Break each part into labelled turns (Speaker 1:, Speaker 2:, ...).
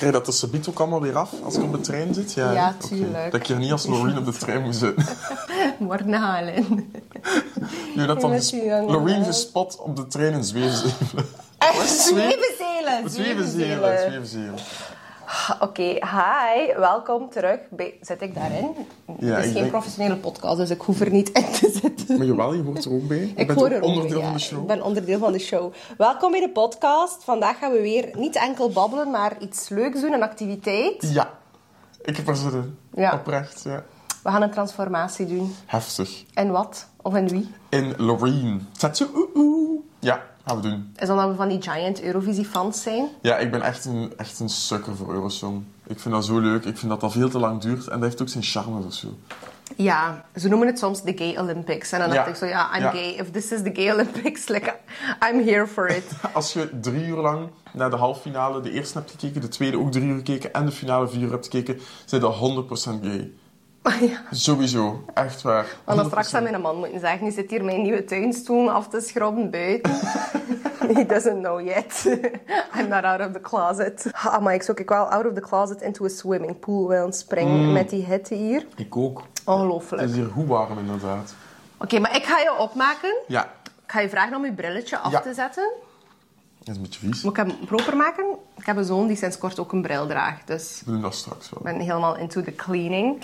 Speaker 1: Krijg je dat er subiet ook allemaal weer af als je op de trein zit?
Speaker 2: Ja,
Speaker 1: hè?
Speaker 2: tuurlijk.
Speaker 1: Oké. Dat ik hier niet als Loreen op de trein moet zitten.
Speaker 2: Morgen halen.
Speaker 1: Je dat dan
Speaker 2: bent
Speaker 1: ges-
Speaker 2: zo jong,
Speaker 1: Loreen
Speaker 2: hè?
Speaker 1: gespot op de trein in Zwevenzelen.
Speaker 2: Zwevenzelen.
Speaker 1: Zwevenzelen, Zwevenzelen.
Speaker 2: Oké, hi. Welkom terug. bij- Zit ik daarin?
Speaker 1: Ja,
Speaker 2: Het is
Speaker 1: ik
Speaker 2: geen
Speaker 1: denk-
Speaker 2: professionele podcast, dus ik hoef er niet in te zitten.
Speaker 1: Maar jawel, je hoort er ook bij. Je
Speaker 2: Ik
Speaker 1: bent
Speaker 2: hoor
Speaker 1: ook
Speaker 2: er ook
Speaker 1: onderdeel
Speaker 2: bij,
Speaker 1: van de
Speaker 2: ja.
Speaker 1: show.
Speaker 2: Ik ben onderdeel van de show. Welkom bij de podcast. Vandaag gaan we weer niet enkel babbelen, maar iets leuks doen, een activiteit.
Speaker 1: Ja. Ik heb er zin in.
Speaker 2: Ja.
Speaker 1: Oprecht, ja.
Speaker 2: We gaan een transformatie doen.
Speaker 1: Heftig.
Speaker 2: En wat? Of en wie?
Speaker 1: In Loreen. Tattoo, oeh, oeh. Ja, gaan we doen.
Speaker 2: Is dan dat we van die giant Eurovisie-fans zijn?
Speaker 1: Ja, ik ben echt een, echt een sukker voor Eurosong. Ik vind dat zo leuk. Ik vind dat dat veel te lang duurt. En dat heeft ook zijn charme of zo.
Speaker 2: Ja, ze noemen het soms de Gay Olympics. En dan
Speaker 1: Ja.
Speaker 2: dacht ik zo, ja, I'm
Speaker 1: Ja.
Speaker 2: gay. If this is the Gay Olympics, like, I'm here for it.
Speaker 1: Als je drie uur lang naar de halve finale, de eerste hebt gekeken, de tweede ook drie uur gekeken en de finale vier uur hebt gekeken, zijn dat 100% gay.
Speaker 2: Maar ja,
Speaker 1: Sowieso, echt waar.
Speaker 2: want Oh, dan straks aan mijn man moeten zeggen, die zit hier mijn nieuwe tuinstoel af te schrobben buiten. He doesn't know yet. I'm not out of the closet. Ah, maar ik zou ook wel out of the closet into a swimming pool willen springen
Speaker 1: Mm.
Speaker 2: met die hitte hier.
Speaker 1: 100%. Ik ook.
Speaker 2: Ongelooflijk.
Speaker 1: Het is hier goed warm, inderdaad.
Speaker 2: Oké, maar ik ga je opmaken.
Speaker 1: Ja,
Speaker 2: Ik ga je vragen om je brilletje af
Speaker 1: Ja.
Speaker 2: te zetten.
Speaker 1: dat is een beetje vies.
Speaker 2: Moet ik hem proper maken? Ik heb een zoon die sinds kort ook een bril draagt, dus...
Speaker 1: We doen dat straks wel.
Speaker 2: Ik ben helemaal into the cleaning.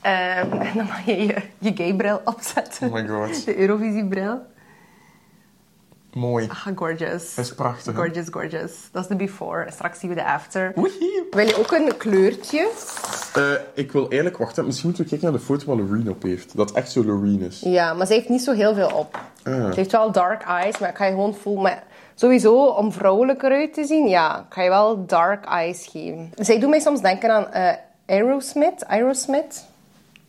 Speaker 2: Ehm, en dan mag je je, je gaybril opzetten.
Speaker 1: Oh my god.
Speaker 2: De Eurovisiebril.
Speaker 1: Mooi.
Speaker 2: Ah, gorgeous.
Speaker 1: Dat is prachtig. hè?
Speaker 2: Gorgeous, gorgeous. Dat is de before. En Straks zien we de after.
Speaker 1: Woehoe.
Speaker 2: Wil je ook een kleurtje?
Speaker 1: Eh, ik wil eigenlijk wachten. Misschien moeten we kijken naar de foto waar Loreen op heeft. Dat echt zo Loreen is.
Speaker 2: Ja, maar ze heeft niet zo heel veel op.
Speaker 1: Ah.
Speaker 2: Ze heeft wel dark eyes, maar ik ga je gewoon voelen... Maar sowieso, om vrouwelijker uit te zien, ja, ik ga je wel dark eyes geven. Zij doet mij soms denken aan eh, Aerosmith. Aerosmith.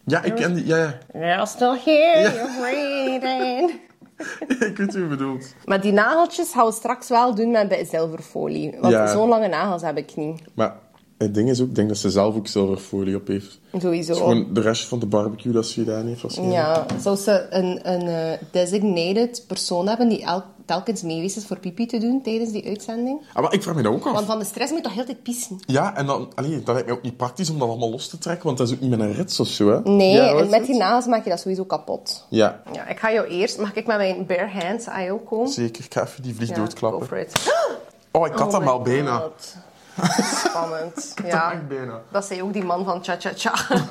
Speaker 1: Ja, ik ken die. Ja, ja.
Speaker 2: You're still here,
Speaker 1: Ja.
Speaker 2: you're breathing.
Speaker 1: ik weet wie je bedoelt.
Speaker 2: Maar die nageltjes gaan we straks wel doen met bij zilverfolie. Want
Speaker 1: Ja.
Speaker 2: zo'n lange nagels heb ik niet.
Speaker 1: Maar het ding is ook, ik denk dat ze zelf ook zilverfolie op heeft.
Speaker 2: Sowieso.
Speaker 1: Het is gewoon de rest van de barbecue dat ze gedaan heeft. waarschijnlijk.
Speaker 2: Ja, zou ze een, een eh, designated persoon hebben die elk, telkens meewees is voor pipi te doen tijdens die uitzending?
Speaker 1: Ah, maar ik vraag me dat ook af.
Speaker 2: Want van de stress moet je toch heel de tijd pissen?
Speaker 1: Ja, en dan, allee, dat lijkt mij ook niet praktisch om dat allemaal los te trekken, want dat is ook niet met een rits of zo, hè?
Speaker 2: Nee,
Speaker 1: Ja,
Speaker 2: en
Speaker 1: hoort
Speaker 2: met
Speaker 1: het?
Speaker 2: die nagels maak je dat sowieso kapot.
Speaker 1: Ja,
Speaker 2: Ja, ik ga jou eerst... Mag ik met mijn bare hands aan jou komen?
Speaker 1: zeker. Ik ga even die vlieg
Speaker 2: Ja,
Speaker 1: doodklappen.
Speaker 2: go for it.
Speaker 1: Oh, ik had
Speaker 2: Oh
Speaker 1: hem
Speaker 2: my
Speaker 1: al bijna.
Speaker 2: God. Spannend.
Speaker 1: Ja.
Speaker 2: ja.
Speaker 1: Echt bijna.
Speaker 2: Dat zei ook die man van Cha-Cha-Cha.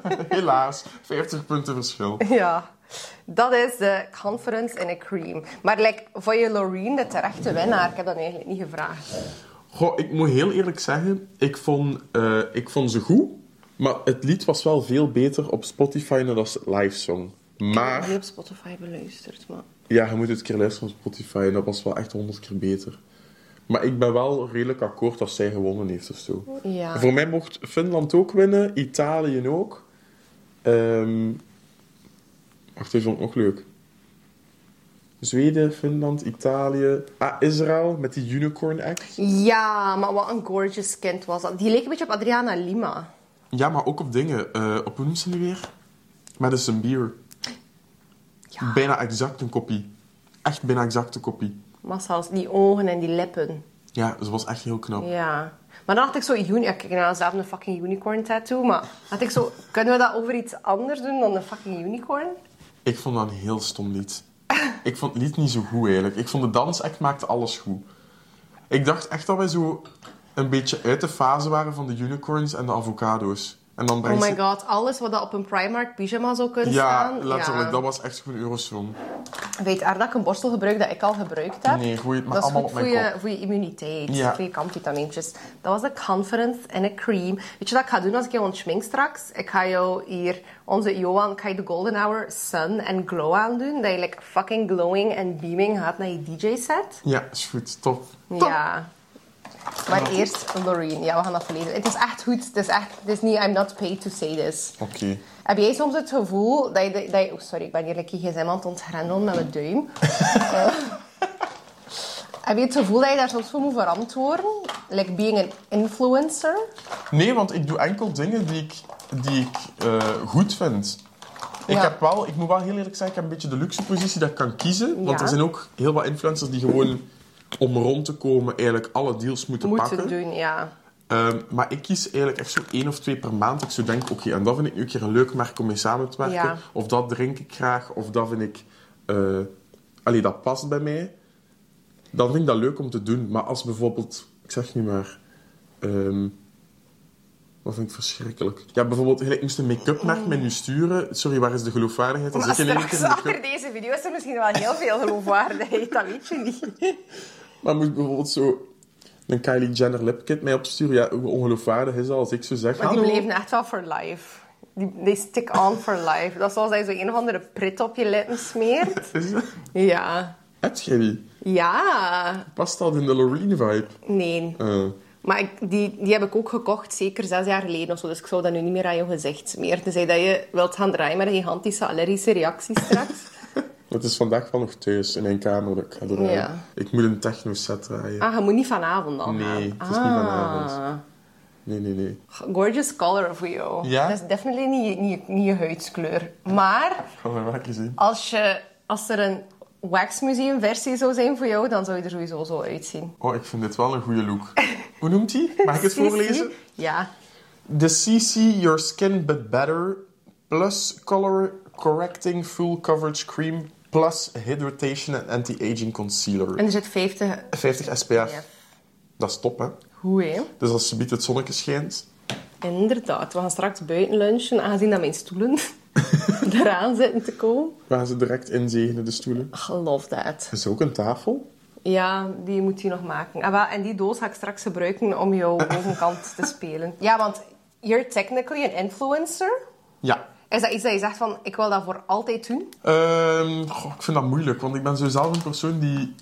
Speaker 1: Helaas, 50 punten verschil.
Speaker 2: Ja, dat is de Conference in a Cream. Maar like, voor je Loreen, de terechte winnaar, ik heb dat eigenlijk niet gevraagd.
Speaker 1: Goh, ik moet heel eerlijk zeggen, ik vond, eh, ik vond ze goed, maar het lied was wel veel beter op Spotify dan als live song.
Speaker 2: Ik heb
Speaker 1: Maar,
Speaker 2: niet op Spotify beluisterd, maar...
Speaker 1: ja, je moet het een keer luisteren op Spotify en dat was wel echt 100 keer beter. Maar ik ben wel redelijk akkoord als zij gewonnen heeft of zo.
Speaker 2: Ja.
Speaker 1: Voor mij mocht Finland ook winnen, Italië ook. Ehm wacht, die vond ik nog leuk. Zweden, Finland, Italië. Ah, Israël met die unicorn act.
Speaker 2: ja, maar wat een gorgeous kind was dat. Die leek een beetje op Adriana Lima.
Speaker 1: Ja, maar ook op dingen. Eh, op hoe noemt ze nu weer? Madison Beer.
Speaker 2: Ja.
Speaker 1: Bijna exact een kopie. Echt bijna exact een kopie.
Speaker 2: Maar zelfs die ogen en die lippen.
Speaker 1: Ja, ze was echt heel knap.
Speaker 2: Ja. Maar dan had ik zo... Uni- ja, kijk, nou, ze hebben een fucking unicorn tattoo, maar... Had ik zo... Kunnen we dat over iets anders doen dan een fucking unicorn?
Speaker 1: Ik vond dat een heel stom lied. Ik vond het lied niet zo goed eigenlijk. Ik vond de dansact maakte alles goed. Ik dacht echt dat wij zo een beetje uit de fase waren van de unicorns en de avocado's. En dan
Speaker 2: Oh
Speaker 1: brengt
Speaker 2: my
Speaker 1: ze-
Speaker 2: god, alles wat dat op een Primark pyjama zou kunnen
Speaker 1: Ja,
Speaker 2: staan.
Speaker 1: letterlijk. Dat was echt gewoon Eurosong.
Speaker 2: Weet haar dat ik een borstel gebruik dat ik al gebruikt heb?
Speaker 1: Nee, goeie, het mag
Speaker 2: Dat is
Speaker 1: allemaal
Speaker 2: goed
Speaker 1: op mijn
Speaker 2: voor je, voor je immuniteit,
Speaker 1: Ja.
Speaker 2: voor je kampvitamientjes. Dat was de Conference en een cream. Weet je wat ik ga doen als ik jou ontschmink straks? Ik ga jou hier, onze Johan, ik ga je de Golden Hour Sun en Glow aandoen. Dat je like fucking glowing en beaming gaat naar je DJ-set.
Speaker 1: Ja, is goed. Top. Top.
Speaker 2: Ja. Maar eerst Loreen. Ja, we gaan dat verleden. Het is echt goed. Het is echt... Het is niet... I'm not paid to say this.
Speaker 1: Oké.
Speaker 2: Heb jij soms het gevoel dat je... de- Dat je oh, sorry, ik ben hier like je gsm aan het ontgrendelen met mijn duim. Eh, heb je het gevoel dat je daar soms voor moet verantwoorden? Like being an influencer?
Speaker 1: Nee, want ik doe enkel dingen die ik, die ik eh, goed vind. Ik,
Speaker 2: Ja.
Speaker 1: heb wel, ik moet wel heel eerlijk zeggen, ik heb een beetje de luxe positie dat ik kan kiezen. Want
Speaker 2: Ja.
Speaker 1: er zijn ook heel wat influencers die gewoon om rond te komen eigenlijk alle deals moeten,
Speaker 2: Moeten
Speaker 1: pakken.
Speaker 2: doen, ja.
Speaker 1: Ehm, maar ik kies eigenlijk echt zo één of twee per maand. Ik zo denk, oké, en dat vind ik nu een keer een leuk merk om mee samen te werken.
Speaker 2: Ja.
Speaker 1: Of dat drink ik graag, of dat vind ik... eh allee, dat past bij mij. Dan vind ik dat leuk om te doen. Maar als bijvoorbeeld... Ik zeg nu maar... ehm, wat vind ik verschrikkelijk. Ja, bijvoorbeeld, gelijk, ik moest een make-up merk mij nu sturen. Sorry, waar is de geloofwaardigheid? Dan
Speaker 2: Oh. Maar
Speaker 1: zit je in één
Speaker 2: straks
Speaker 1: keer make-up.
Speaker 2: achter deze video is er misschien wel heel veel geloofwaardigheid, dat weet je niet.
Speaker 1: Maar moet bijvoorbeeld zo een Kylie Jenner lipkit mij opsturen? Ja, hoe ongeloofwaardig is dat als ik zo zeg?
Speaker 2: Maar die
Speaker 1: hallo?
Speaker 2: bleven echt wel for life. Die, die stick on for life. Dat is zoals dat je zo een of andere prit op je lippen smeert.
Speaker 1: Is dat-
Speaker 2: Ja.
Speaker 1: Heb jij die?
Speaker 2: Ja.
Speaker 1: Past dat in de Loreen-vibe?
Speaker 2: Nee.
Speaker 1: Eh,
Speaker 2: Maar ik, die, die heb ik ook gekocht, zeker zes jaar geleden of zo. Dus ik zou dat nu niet meer aan je gezicht smeren. Tenzij dat je wilt gaan draaien met een gigantische allergische reactie straks.
Speaker 1: het is vandaag wel nog thuis in mijn kamer dat ik ga draaien.
Speaker 2: Ja.
Speaker 1: Ik moet een techno-set draaien.
Speaker 2: Ah, je moet niet vanavond al
Speaker 1: Nee,
Speaker 2: gaan.
Speaker 1: het is niet
Speaker 2: ah.
Speaker 1: vanavond. Nee, nee, nee.
Speaker 2: Gorgeous color of you.
Speaker 1: Ja?
Speaker 2: Dat is definitely niet, niet, niet je huidskleur. Maar
Speaker 1: Ik ga mijn werkje zien.
Speaker 2: als, je, als er een waxmuseum versie zou zijn voor jou, dan zou je er sowieso zo uitzien.
Speaker 1: Oh, ik vind dit wel een goede look. Hoe noemt die? Mag ik het
Speaker 2: Zie, zie.
Speaker 1: voorlezen?
Speaker 2: Ja.
Speaker 1: De CC Your Skin But Better Plus Color Correcting Full Coverage Cream Plus Hydration and Anti-Aging Concealer.
Speaker 2: En er zit 50...
Speaker 1: 50 SPF.
Speaker 2: Ja.
Speaker 1: Dat is top, hè?
Speaker 2: Hoe, hè?
Speaker 1: Dus als je biedt het zonnetje schijnt.
Speaker 2: Inderdaad. We gaan straks buiten lunchen, aangezien dat mijn stoelen eraan zitten te komen.
Speaker 1: Waar ze direct inzegenen, de stoelen.
Speaker 2: Ach, love that.
Speaker 1: Er is ook een tafel.
Speaker 2: Ja, die moet je nog maken. Ah, wel, en die doos ga ik straks gebruiken om jouw bovenkant te spelen. Ja, want you're technically an influencer.
Speaker 1: Ja.
Speaker 2: Is dat iets dat je zegt van, ik wil dat voor altijd doen?
Speaker 1: Ehm, goh, ik vind dat moeilijk, want ik ben zo zelf een persoon die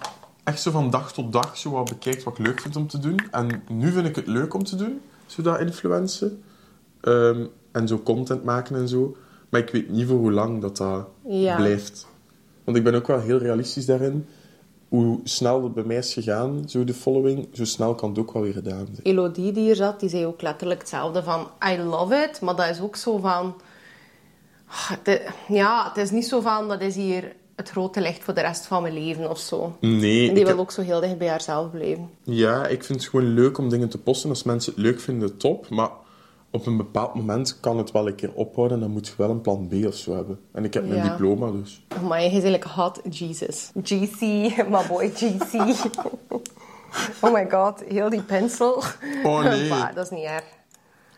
Speaker 1: echt zo van dag tot dag zo wat bekijkt wat ik leuk vind om te doen. En nu vind ik het leuk om te doen, zo dat influencen. Ehm, en zo content maken en zo. Maar ik weet niet voor hoe lang dat, dat
Speaker 2: Ja.
Speaker 1: blijft. Want ik ben ook wel heel realistisch daarin. Hoe snel het bij mij is gegaan, zo de following, zo snel kan het ook wel weer gedaan zijn.
Speaker 2: Elodie die hier zat, die zei ook letterlijk hetzelfde van, I love it. Maar dat is ook zo van... ah, het- ja, het is niet zo van, dat is hier het grote licht voor de rest van mijn leven of zo.
Speaker 1: Nee,
Speaker 2: En
Speaker 1: ik
Speaker 2: die
Speaker 1: heb-
Speaker 2: wil ook zo heel dicht bij haarzelf blijven.
Speaker 1: Ja, ik vind het gewoon leuk om dingen te posten. Als mensen het leuk vinden, top. Maar op een bepaald moment kan het wel een keer ophouden. Dan moet je wel een plan B of zo hebben. En ik heb mijn
Speaker 2: Ja.
Speaker 1: diploma dus.
Speaker 2: Maar je is eigenlijk hot Jesus. GC, my boy GC. oh my god, heel die pencil.
Speaker 1: Oh, nee.
Speaker 2: Bah, dat is niet erg.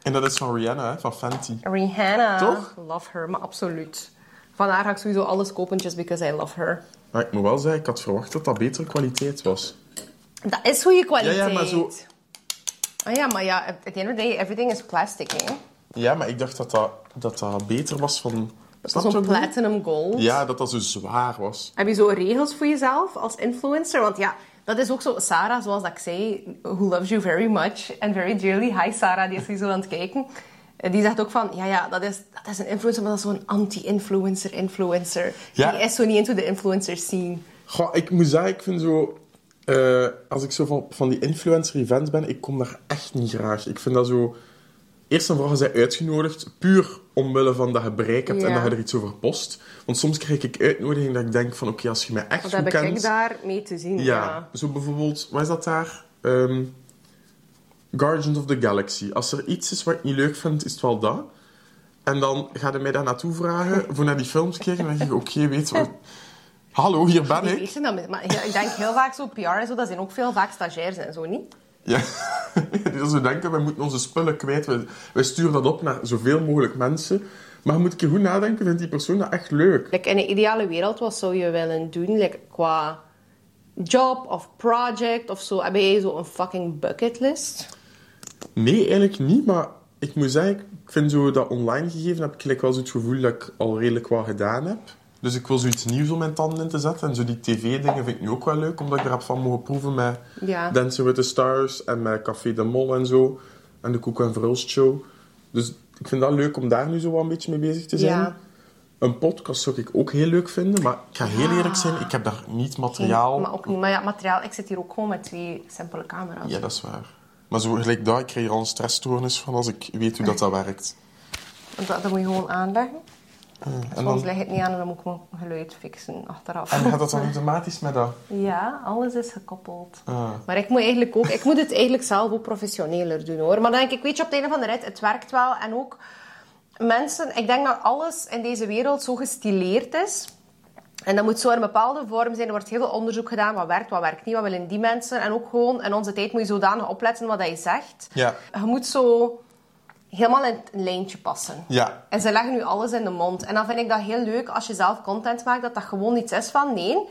Speaker 1: En dat is van Rihanna, hè? van Fenty.
Speaker 2: Rihanna.
Speaker 1: Toch?
Speaker 2: Love her, maar absoluut. Vandaar ga ik sowieso alles kopen, just because I love her.
Speaker 1: Maar ik moet wel zeggen, ik had verwacht dat dat betere kwaliteit was.
Speaker 2: Dat is goede kwaliteit.
Speaker 1: Ja, ja, maar zo-
Speaker 2: Ah ja, maar ja, at the end of the day, everything is plastic, hè.
Speaker 1: Ja, maar ik dacht dat dat, dat, dat beter was van... Snap je
Speaker 2: Zo'n
Speaker 1: wat ik bedoel?
Speaker 2: platinum gold.
Speaker 1: Ja, dat dat zo zwaar was.
Speaker 2: Heb je zo regels voor jezelf als influencer? Want ja, dat is ook zo. Sarah, zoals dat ik zei, who loves you very much and very dearly. Hi Sarah, die is hier zo aan het kijken. Eh, Die zegt ook van, ja, ja, dat is, dat is een influencer, maar dat is zo'n anti-influencer influencer.
Speaker 1: Ja.
Speaker 2: Die is zo niet into the influencer scene.
Speaker 1: Goh, ik moet zeggen, ik vind zo... eh, als ik zo van, van die influencer-events ben, ik kom daar echt niet graag. Ik vind dat zo... Eerst en vooral zijn uitgenodigd, puur omwille van dat je bereik hebt en
Speaker 2: Ja.
Speaker 1: dat je er iets over post. Want soms krijg ik uitnodiging dat ik denk van, oké, als je mij echt
Speaker 2: Wat
Speaker 1: goed
Speaker 2: heb
Speaker 1: kent...
Speaker 2: ik daar mee te zien?
Speaker 1: Ja. zo bijvoorbeeld, wat is dat daar? Ehm, Guardians of the Galaxy. Als er iets is wat ik niet leuk vind, is het wel dat. En dan ga je mij daar naartoe vragen, voor naar die films kijken. En dan denk ik, oké, weet je wat... Hallo, hier ben
Speaker 2: Die
Speaker 1: ik.
Speaker 2: weten dat, met- maar ja, ik denk heel vaak zo PR en zo, dat zijn ook veel vaak stagiairs en zo, niet?
Speaker 1: Ja, die als we denken, wij moeten onze spullen kwijt. Wij, wij sturen dat op naar zoveel mogelijk mensen. Maar je moet een keer goed nadenken, vindt die persoon dat echt leuk?
Speaker 2: Like, in een ideale wereld, wat zou je willen doen like, qua job of project of zo? Heb jij zo een fucking bucketlist?
Speaker 1: Nee, eigenlijk niet, maar ik moet zeggen, ik vind zo dat online gegeven heb ik gelijk wel zo het gevoel dat ik al redelijk wat gedaan heb. Dus ik wil zoiets nieuws om mijn tanden in te zetten. En zo die tv-dingen vind ik nu ook wel leuk, omdat ik daar heb van mogen proeven met
Speaker 2: Ja.
Speaker 1: Dancing with the Stars en met Café de Mol en zo. En de Koek en Verhulst Show. Dus ik vind dat leuk om daar nu zo wel een beetje mee bezig te zijn.
Speaker 2: Ja.
Speaker 1: Een podcast zou ik ook heel leuk vinden, maar ik ga heel eerlijk zijn, ik heb daar niet materiaal...
Speaker 2: Maar ook niet. Maar ja, materiaal. Ik zit hier ook gewoon met twee simpele camera's.
Speaker 1: Ja, dat is waar. Maar zo gelijk daar, ik krijg hier al een stressstoornis van als ik weet hoe dat, dat werkt.
Speaker 2: Want dat, dat moet je gewoon aanleggen.
Speaker 1: Mm, en
Speaker 2: Soms
Speaker 1: dan
Speaker 2: leg het niet aan en dan moet ik mijn geluid fixen achteraf.
Speaker 1: en gaat dat dan automatisch met dat.
Speaker 2: Ja, alles is gekoppeld.
Speaker 1: Ah.
Speaker 2: Maar ik moet, eigenlijk ook, ik moet het eigenlijk zelf ook professioneler doen hoor. Maar dan denk ik, weet je, op het einde van de rit, het werkt wel. En ook mensen, ik denk dat alles in deze wereld zo gestileerd is. En dat moet zo in een bepaalde vorm zijn. Er wordt heel veel onderzoek gedaan. Wat werkt, wat werkt niet, wat willen die mensen. En ook gewoon in onze tijd moet je zodanig opletten wat dat je zegt.
Speaker 1: Ja.
Speaker 2: Je moet zo helemaal in het lijntje passen.
Speaker 1: Ja.
Speaker 2: En ze leggen nu alles in de mond. En dan vind ik dat heel leuk als je zelf content maakt, dat dat gewoon iets is van nee,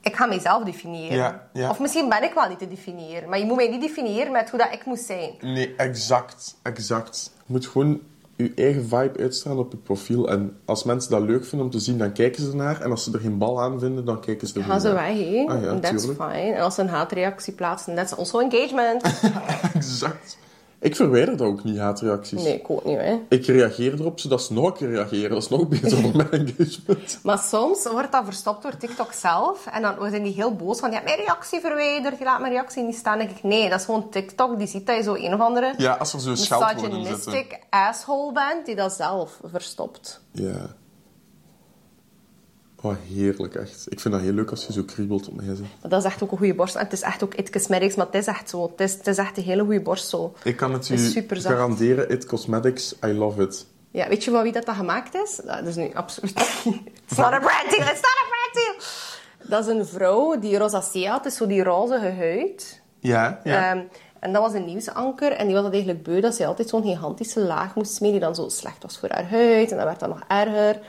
Speaker 2: ik ga mijzelf definiëren.
Speaker 1: Ja, ja.
Speaker 2: Of misschien ben ik wel niet te definiëren, maar je moet mij niet definiëren met hoe dat ik moet zijn.
Speaker 1: Nee, exact. Exact. Je moet gewoon je eigen vibe uitstralen op je profiel. En als mensen dat leuk vinden om te zien, dan kijken ze ernaar. En als ze er geen bal aan vinden, dan kijken ze er
Speaker 2: Gaan
Speaker 1: niet
Speaker 2: ze
Speaker 1: naar.
Speaker 2: weg, hé.
Speaker 1: Ah ja,
Speaker 2: That's
Speaker 1: tuurlijk.
Speaker 2: fine. En als ze een haatreactie plaatsen, that's also engagement.
Speaker 1: Exact. Ik verwijder dat ook niet, haatreacties.
Speaker 2: Nee, ik ook niet, hè.
Speaker 1: Ik reageer erop, zodat ze nog een keer reageren. Dat is nog beter voor mijn engagement.
Speaker 2: Maar soms wordt dat verstopt door TikTok zelf. En dan zijn die heel boos van, je hebt mijn reactie verwijderd, je laat mijn reactie niet staan. Dan denk ik, nee, dat is gewoon TikTok. Die ziet dat je zo een of andere...
Speaker 1: Ja, als er zo'n scheldwoord in zitten.
Speaker 2: misogynistic asshole bent die dat zelf verstopt.
Speaker 1: Ja. Oh, heerlijk, echt. Ik vind dat heel leuk als je zo kriebelt op mij. Zeg.
Speaker 2: Maar dat is echt ook een goede borst. En het is echt ook ietjes merks, maar het is echt zo. Het is, het is echt een hele goede borst zo.
Speaker 1: Ik kan het
Speaker 2: Is
Speaker 1: u
Speaker 2: superzacht.
Speaker 1: garanderen. It Cosmetics, I love it.
Speaker 2: Ja, weet je van wie dat, dat gemaakt is? Dat is nu absoluut niet. It's not a brand deal, it's not a brand deal! Dat is een vrouw die rosacea had, dus zo die rozige huid.
Speaker 1: Ja, ja.
Speaker 2: Ehm, en dat was een nieuwsanker. En die was dat eigenlijk beu dat ze altijd zo'n gigantische laag moest smeren die dan zo slecht was voor haar huid. En dat werd dan nog erger.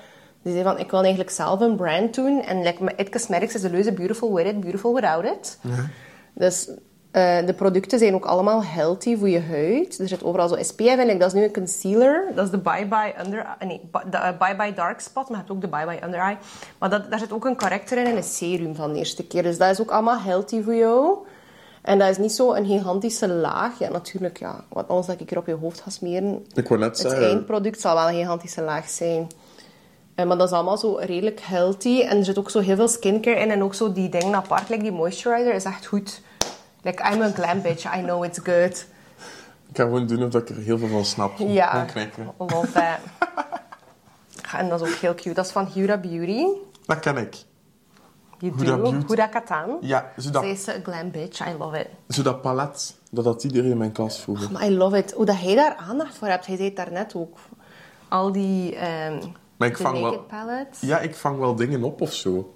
Speaker 2: Die zei van, ik wil eigenlijk zelf een brand doen. En like, met Itke Smerks is de leuze beautiful with it, beautiful without it. Dus eh, de producten zijn ook allemaal healthy voor je huid. Er zit overal zo SPF in. Like, dat is nu een concealer. Dat is de Bye Bye Under... eh, Nee, Ba- de, eh, Bye Bye Dark Spot. Maar je hebt ook de Bye Bye Under Eye. Maar dat, daar zit ook een corrector in en een serum van de eerste keer. Dus dat is ook allemaal healthy voor jou. En dat is niet zo een gigantische laag. Ja, natuurlijk, ja. Want anders dat ik er op je hoofd ga smeren.
Speaker 1: Ik wou net
Speaker 2: Het
Speaker 1: zeggen.
Speaker 2: eindproduct zal wel een gigantische laag zijn. Eh, maar dat is allemaal zo redelijk healthy. En er zit ook zo heel veel skincare in. En ook zo die dingen apart. Like die moisturizer is echt goed. Like, I'm a glam bitch. I know it's good.
Speaker 1: Ik ga gewoon doen of ik er heel veel van snap.
Speaker 2: Ja.
Speaker 1: Gewoon knikken.
Speaker 2: Love that. Ja, En dat is ook heel cute. Dat is van Huda Beauty.
Speaker 1: Dat ken ik.
Speaker 2: You
Speaker 1: Huda
Speaker 2: do.
Speaker 1: Beauty.
Speaker 2: Huda Katan.
Speaker 1: Ja, zo
Speaker 2: Ze
Speaker 1: dat,
Speaker 2: is een glam bitch. I love it.
Speaker 1: zo dat palet, dat had iedereen in mijn klas vroeger.
Speaker 2: Maar I love it. Hoe dat jij daar aandacht voor hebt. Hij zei het daarnet ook. Al die ehm
Speaker 1: Maar ik
Speaker 2: de
Speaker 1: vang wel-
Speaker 2: naked palettes.
Speaker 1: Ja, ik vang wel dingen op of zo.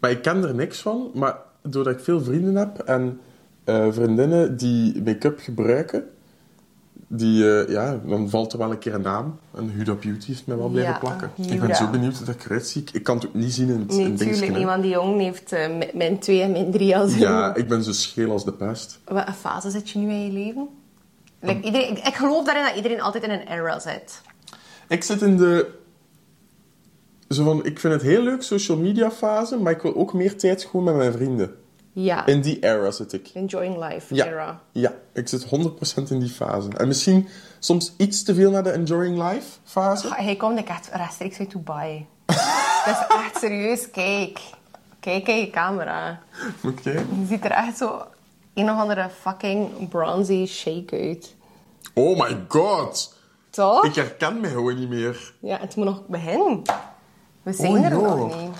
Speaker 1: Maar ik ken er niks van. Maar doordat ik veel vrienden heb en eh, vriendinnen die make-up gebruiken, die, eh, ja, dan valt er wel een keer een naam. En Huda Beauty heeft mij wel blijven
Speaker 2: Ja,
Speaker 1: plakken.
Speaker 2: Huda.
Speaker 1: Ik ben zo benieuwd hoe dat ik eruit zie. Ik- Ik kan het ook niet zien in het in
Speaker 2: Nee,
Speaker 1: het dingetje,
Speaker 2: natuurlijk
Speaker 1: hè.
Speaker 2: niet, want die jongen heeft eh, m- mijn twee en mijn drie als
Speaker 1: Ja, ik ben zo scheel als de pest.
Speaker 2: Wat een fase zit je nu in je leven? Like, iedereen, ik, ik geloof daarin dat iedereen altijd in een era zit.
Speaker 1: Ik zit in de... Zo van, ik vind het heel leuk, social media fase, maar ik wil ook meer tijd gewoon met mijn vrienden.
Speaker 2: Ja.
Speaker 1: In die era zit ik.
Speaker 2: Enjoying life
Speaker 1: Ja,
Speaker 2: era.
Speaker 1: ja, ik zit 100% in die fase. En misschien soms iets te veel naar de enjoying life fase.
Speaker 2: Hij komt ik echt rechtstreeks uit Dubai. Dat is echt serieus. Kijk. Kijk in je camera.
Speaker 1: Oké.
Speaker 2: Je ziet er echt zo een of andere fucking bronzy shake uit.
Speaker 1: Oh my god!
Speaker 2: Toch?
Speaker 1: Ik herken mij gewoon niet meer.
Speaker 2: Ja, het moet nog beginnen. We zijn
Speaker 1: Oh,
Speaker 2: er
Speaker 1: joh.
Speaker 2: nog niet.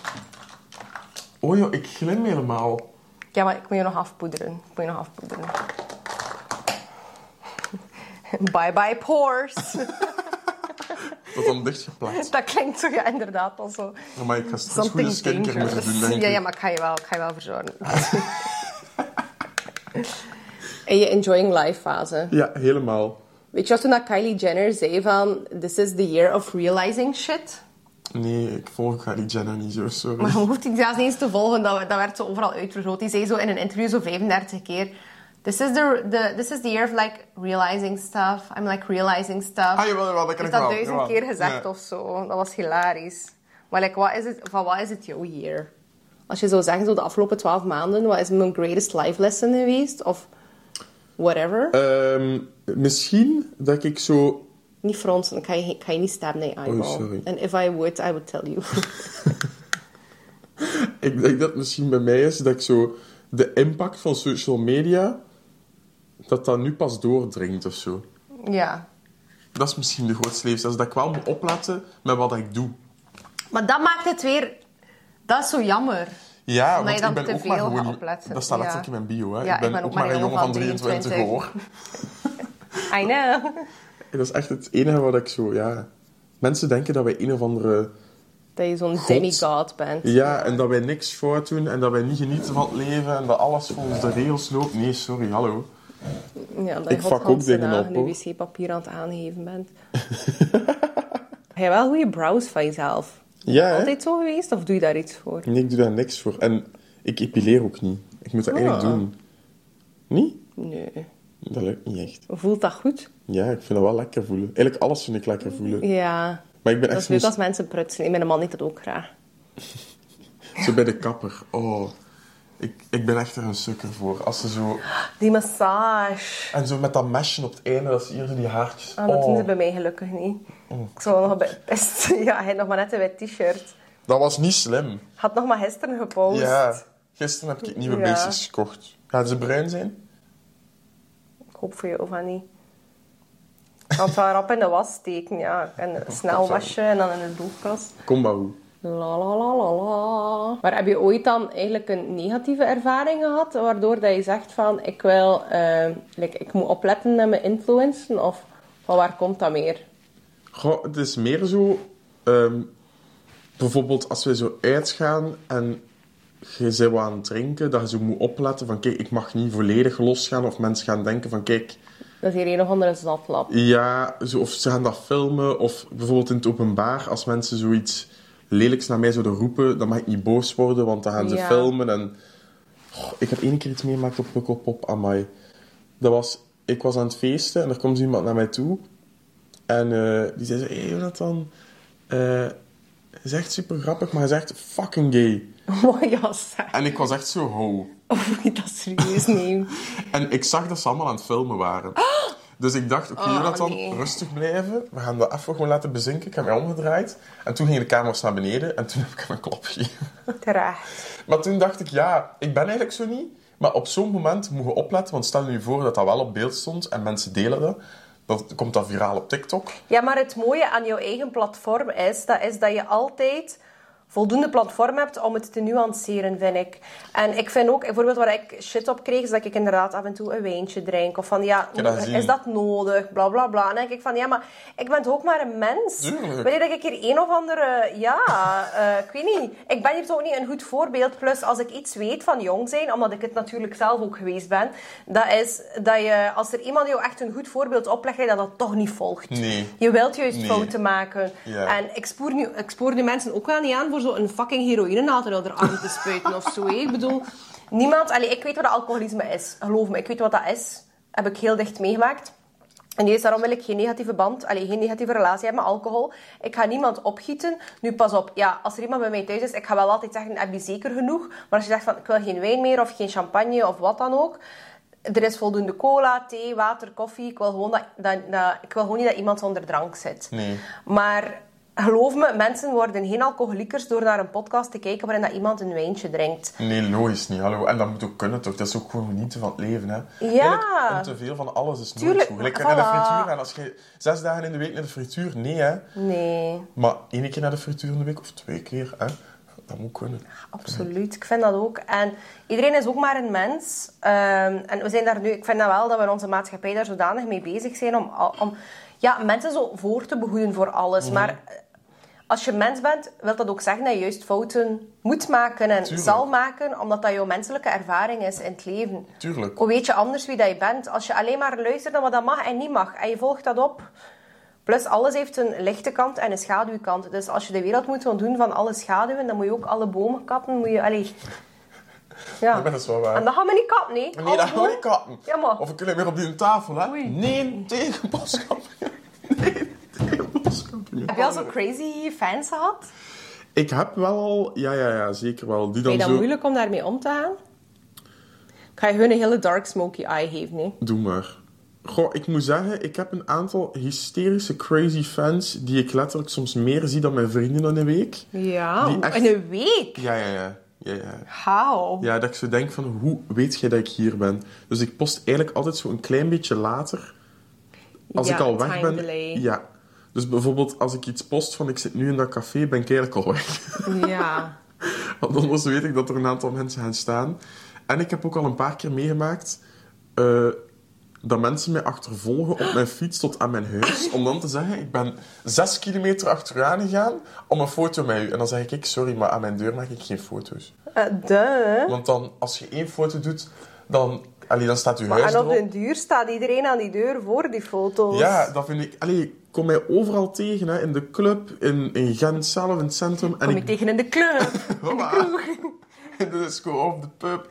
Speaker 1: Oh joh, ik glim helemaal.
Speaker 2: Ja, maar ik moet je nog afpoederen. Ik moet je nog afpoederen. Bye bye pores.
Speaker 1: Dat dan dichtgeplakt.
Speaker 2: dat klinkt zo, ja, inderdaad al zo.
Speaker 1: Maar ik ga straks goede
Speaker 2: Something
Speaker 1: skincare moeten doen,
Speaker 2: dangerous.
Speaker 1: denk ik.
Speaker 2: Ja, ja, maar ik ga je wel, ik ga je wel verzorgen. En je enjoying life fase.
Speaker 1: Ja, helemaal.
Speaker 2: Weet je wat toen dat Kylie Jenner zei van... This is the year of realizing shit.
Speaker 1: Nee, ik volg Kylie Jenner niet zo, sorry.
Speaker 2: Maar je hoeft die zelfs niet eens te volgen. Dat, dat werd zo overal uitvergroot. Die zei zo in een interview zo 35 keer... This is the, the, this is the year of like realizing stuff. I'm like realizing stuff.
Speaker 1: Ah, jawel, jawel, dat ken
Speaker 2: Is
Speaker 1: ik
Speaker 2: dat
Speaker 1: wel.
Speaker 2: duizend
Speaker 1: jawel.
Speaker 2: keer gezegd
Speaker 1: Ja.
Speaker 2: of zo? Dat was hilarisch. Maar like, wat is het, van wat is het jouw year? Als je zou zeggen, zo de afgelopen 12 maanden, wat is mijn greatest life lesson geweest? Of whatever.
Speaker 1: Ehm, misschien dat ik zo...
Speaker 2: niet fronsen, dan kan je, kan je niet staan naar je eyeball.
Speaker 1: Oh, sorry.
Speaker 2: And if I would, I would tell you.
Speaker 1: Ik denk dat het misschien bij mij is dat ik zo... De impact van social media... Dat dat nu pas doordringt of zo.
Speaker 2: ja.
Speaker 1: Dat is misschien de grootste levensles. Dat ik wel moet opletten met wat ik doe.
Speaker 2: Maar dat maakt het weer... Dat is zo jammer.
Speaker 1: Ja,
Speaker 2: Omdat
Speaker 1: want
Speaker 2: je dan
Speaker 1: ik ben
Speaker 2: te
Speaker 1: ook maar
Speaker 2: veel
Speaker 1: gewoon...
Speaker 2: gaat opletten.
Speaker 1: Dat staat
Speaker 2: Ja.
Speaker 1: letterlijk in mijn bio, hè.
Speaker 2: Ja,
Speaker 1: ik ben ook maar een jongen van 23 hoor.
Speaker 2: I know.
Speaker 1: Dat is echt het enige wat ik zo... Ja. Mensen denken dat wij een of andere...
Speaker 2: Dat je zo'n
Speaker 1: God.
Speaker 2: demigod bent.
Speaker 1: Ja, en dat wij niks fout doen en dat wij niet genieten van het leven en dat alles volgens de regels loopt. Nee, sorry, hallo.
Speaker 2: Ja, dat
Speaker 1: Ik
Speaker 2: je
Speaker 1: vak ook
Speaker 2: godganse
Speaker 1: dingen
Speaker 2: dagen
Speaker 1: op,
Speaker 2: je wc-papier aan het aangeven bent. Heb je wel goede brows van jezelf?
Speaker 1: Ja, hè?
Speaker 2: Altijd zo geweest? Of doe je daar iets voor?
Speaker 1: Nee, ik doe daar niks voor. En ik epileer ook niet. Ik moet dat
Speaker 2: Ah.
Speaker 1: eigenlijk doen. Niet?
Speaker 2: Nee.
Speaker 1: Dat lukt niet echt.
Speaker 2: Voelt dat goed?
Speaker 1: Ja, ik vind dat wel lekker voelen. Eigenlijk alles vind ik lekker voelen.
Speaker 2: Ja.
Speaker 1: Maar ik ben
Speaker 2: Dat
Speaker 1: echt
Speaker 2: is leuk
Speaker 1: niet
Speaker 2: als mensen prutsen. Mijn man deed dat ook graag.
Speaker 1: zo bij de kapper. Oh, ik, ik ben echt er een sukker voor. Als ze zo...
Speaker 2: Die massage.
Speaker 1: En zo met dat mesje op het einde, dat ze hier zo die haartjes...
Speaker 2: Ah, dat doen ze
Speaker 1: Oh,
Speaker 2: bij mij gelukkig niet. Ik zou wel nog bij best. Ja, hij had nog maar net een wit t-shirt.
Speaker 1: dat was niet slim.
Speaker 2: Had nog maar gisteren gepost.
Speaker 1: Ja, gisteren heb ik nieuwe
Speaker 2: Ja.
Speaker 1: beestjes gekocht. Gaan ze bruin zijn?
Speaker 2: Ik hoop voor jou van niet. Want ze rap in de was steken, ja. En snel wasje en dan in de doelkast.
Speaker 1: Kom maar hoe.
Speaker 2: La la la la la. Maar heb je ooit dan eigenlijk een negatieve ervaring gehad? Waardoor dat je zegt van, ik wil... eh, like, ik moet opletten met mijn influencen? Of van waar komt dat meer?
Speaker 1: Goh, het is meer zo... ehm, bijvoorbeeld als wij zo uitgaan en je bent wat aan het drinken, dat je zo moet opletten van kijk, ik mag niet volledig losgaan of mensen gaan denken van kijk,
Speaker 2: Dat is hier een of andere zatlap.
Speaker 1: ja, zo, of ze gaan dat filmen of bijvoorbeeld in het openbaar als mensen zoiets lelijks naar mij zouden roepen, dan mag ik niet boos worden, want dan gaan ze
Speaker 2: Ja.
Speaker 1: filmen en... Goh, ik heb één keer iets meegemaakt op Pukkelpop, amai. Dat was... Ik was aan het feesten en er komt iemand naar mij toe en eh, die zei zo, hé hey, Jonathan, eh, je is echt super grappig, maar je is echt fucking gay.
Speaker 2: Oh ja, zeg.
Speaker 1: En ik was echt zo, ho.
Speaker 2: Of moet je dat serieus nemen?
Speaker 1: En ik zag dat ze allemaal aan het filmen waren. Dus ik dacht, oké
Speaker 2: Oh,
Speaker 1: Jonathan,
Speaker 2: nee.
Speaker 1: rustig blijven. We gaan dat even gewoon laten bezinken. Ik heb mij omgedraaid. En toen gingen de camera's naar beneden. En toen heb ik hem een klap gegeven.
Speaker 2: Terecht.
Speaker 1: Maar toen dacht ik, ja, ik ben eigenlijk zo niet. Maar op zo'n moment moet je opletten. Want stel je nu voor dat dat wel op beeld stond. En mensen delen dat. Dan komt dat viraal op TikTok.
Speaker 2: Ja, maar het mooie aan jouw eigen platform is dat, is dat je altijd voldoende platform hebt om het te nuanceren, vind ik. En ik vind ook, bijvoorbeeld waar ik shit op kreeg, is dat ik inderdaad af en toe een wijntje drink. Of van, ja,
Speaker 1: heb dat gezien.
Speaker 2: is dat nodig? Bla, bla, bla. En dan denk ik van, ja, maar ik ben toch ook maar een mens?
Speaker 1: Tuurlijk.
Speaker 2: Wanneer dat ik hier een of andere... Ja, eh, ik weet niet. Ik ben hier toch ook niet een goed voorbeeld. Plus, als ik iets weet van jong zijn, omdat ik het natuurlijk zelf ook geweest ben, dat is dat je, als er iemand jou echt een goed voorbeeld oplegt, dat je dat toch niet volgt.
Speaker 1: Nee.
Speaker 2: Je wilt juist
Speaker 1: Nee.
Speaker 2: fouten maken.
Speaker 1: Ja.
Speaker 2: En ik spoor, nu, ik spoor die mensen ook wel niet aan voor zo'n fucking heroïnenaad in hun arm te spuiten of zo. hè. Ik bedoel, niemand... Allee, ik weet wat alcoholisme is. Geloof me, ik weet wat dat is. Heb ik heel dicht meegemaakt. En juist daarom wil ik geen negatieve band, allee, geen negatieve relatie hebben met alcohol. Ik ga niemand opgieten. Nu, pas op, ja, als er iemand bij mij thuis is, ik ga wel altijd zeggen, heb je zeker genoeg? Maar als je zegt van, ik wil geen wijn meer of geen champagne of wat dan ook... Er is voldoende cola, thee, water, koffie. Ik wil gewoon, dat, dat, dat, ik wil gewoon niet dat iemand onder drank zit.
Speaker 1: Nee.
Speaker 2: Maar geloof me, mensen worden geen alcoholiekers door naar een podcast te kijken waarin dat iemand een wijntje drinkt.
Speaker 1: Nee, logisch niet. Hallo. En dat moet ook kunnen, toch? Dat is ook gewoon genieten van het leven, hè? Eigenlijk, om te veel van alles is nooit
Speaker 2: Tuurlijk,
Speaker 1: goed. Lekker
Speaker 2: voilà.
Speaker 1: naar de frituur gaan. Als je zes dagen in de week naar de frituur... Nee, hè?
Speaker 2: Nee,
Speaker 1: Maar één keer naar de frituur in de week of twee keer, hè? Dat moet kunnen.
Speaker 2: absoluut. Ik vind dat ook. En iedereen is ook maar een mens. Ehm, en we zijn daar nu, ik vind dat wel dat we in onze maatschappij daar zodanig mee bezig zijn om, al- om ja, mensen zo voor te behoeden voor alles. Maar eh, als je mens bent, wil dat ook zeggen dat je juist fouten moet maken en
Speaker 1: Tuurlijk.
Speaker 2: zal maken, omdat dat jouw menselijke ervaring is in het leven.
Speaker 1: Tuurlijk.
Speaker 2: Hoe weet je anders wie dat je bent? Als je alleen maar luistert naar wat dat mag en niet mag. En je volgt dat op. Plus, alles heeft een lichte kant en een schaduwkant. Dus als je de wereld moet ontdoen van alle schaduwen, dan moet je ook alle bomen kappen. Moet je, allee. Ja.
Speaker 1: Ja, dat is wel waar.
Speaker 2: En dat gaan we niet kappen, nee.
Speaker 1: Nee, dat gaan we niet kappen.
Speaker 2: Ja, maar.
Speaker 1: Of we kunnen weer op die tafel, hè?
Speaker 2: Oei.
Speaker 1: Nee, tegen boskampioen. Nee, tegen boskampioen.
Speaker 2: Heb je al zo crazy fans gehad?
Speaker 1: Ik heb wel al... Ja, ja, ja, zeker wel. Die dan,
Speaker 2: Vind je dat
Speaker 1: zo...
Speaker 2: moeilijk om daarmee om te gaan? Ik ga je hun een hele dark smoky eye geven, nee.
Speaker 1: Doe maar. Goh, ik moet zeggen, ik heb een aantal hysterische crazy fans die ik letterlijk soms meer zie dan mijn vrienden in een week.
Speaker 2: Ja,
Speaker 1: Die echt-
Speaker 2: in een week.
Speaker 1: Ja, ja, ja. Ja, ja.
Speaker 2: How?
Speaker 1: Ja, dat ik zo denk van, hoe weet jij dat ik hier ben? Dus ik post eigenlijk altijd zo een klein beetje later. Als
Speaker 2: Ja,
Speaker 1: ik al weg
Speaker 2: time
Speaker 1: ben.
Speaker 2: delay.
Speaker 1: Ja. Dus bijvoorbeeld als ik iets post van ik zit nu in dat café, ben ik eigenlijk al weg.
Speaker 2: Ja.
Speaker 1: Want anders weet ik dat er een aantal mensen gaan staan. En ik heb ook al een paar keer meegemaakt eh, dat mensen mij achtervolgen op mijn fiets tot aan mijn huis. Om dan te zeggen, ik ben zes kilometer achteraan gegaan om een foto met u. En dan zeg ik, sorry, maar aan mijn deur maak ik geen foto's.
Speaker 2: Eh, duh.
Speaker 1: Want dan, als je één foto doet, dan, allee, dan staat uw huis
Speaker 2: Maar en op
Speaker 1: erop.
Speaker 2: den duur staat iedereen aan die deur voor die foto's.
Speaker 1: Ja, dat vind ik... Allee, ik kom mij overal tegen, hè. In de club, in, in Gent zelf, in het centrum. En ik
Speaker 2: Kom ik tegen in de club.
Speaker 1: Voilà. In de disco of de pub.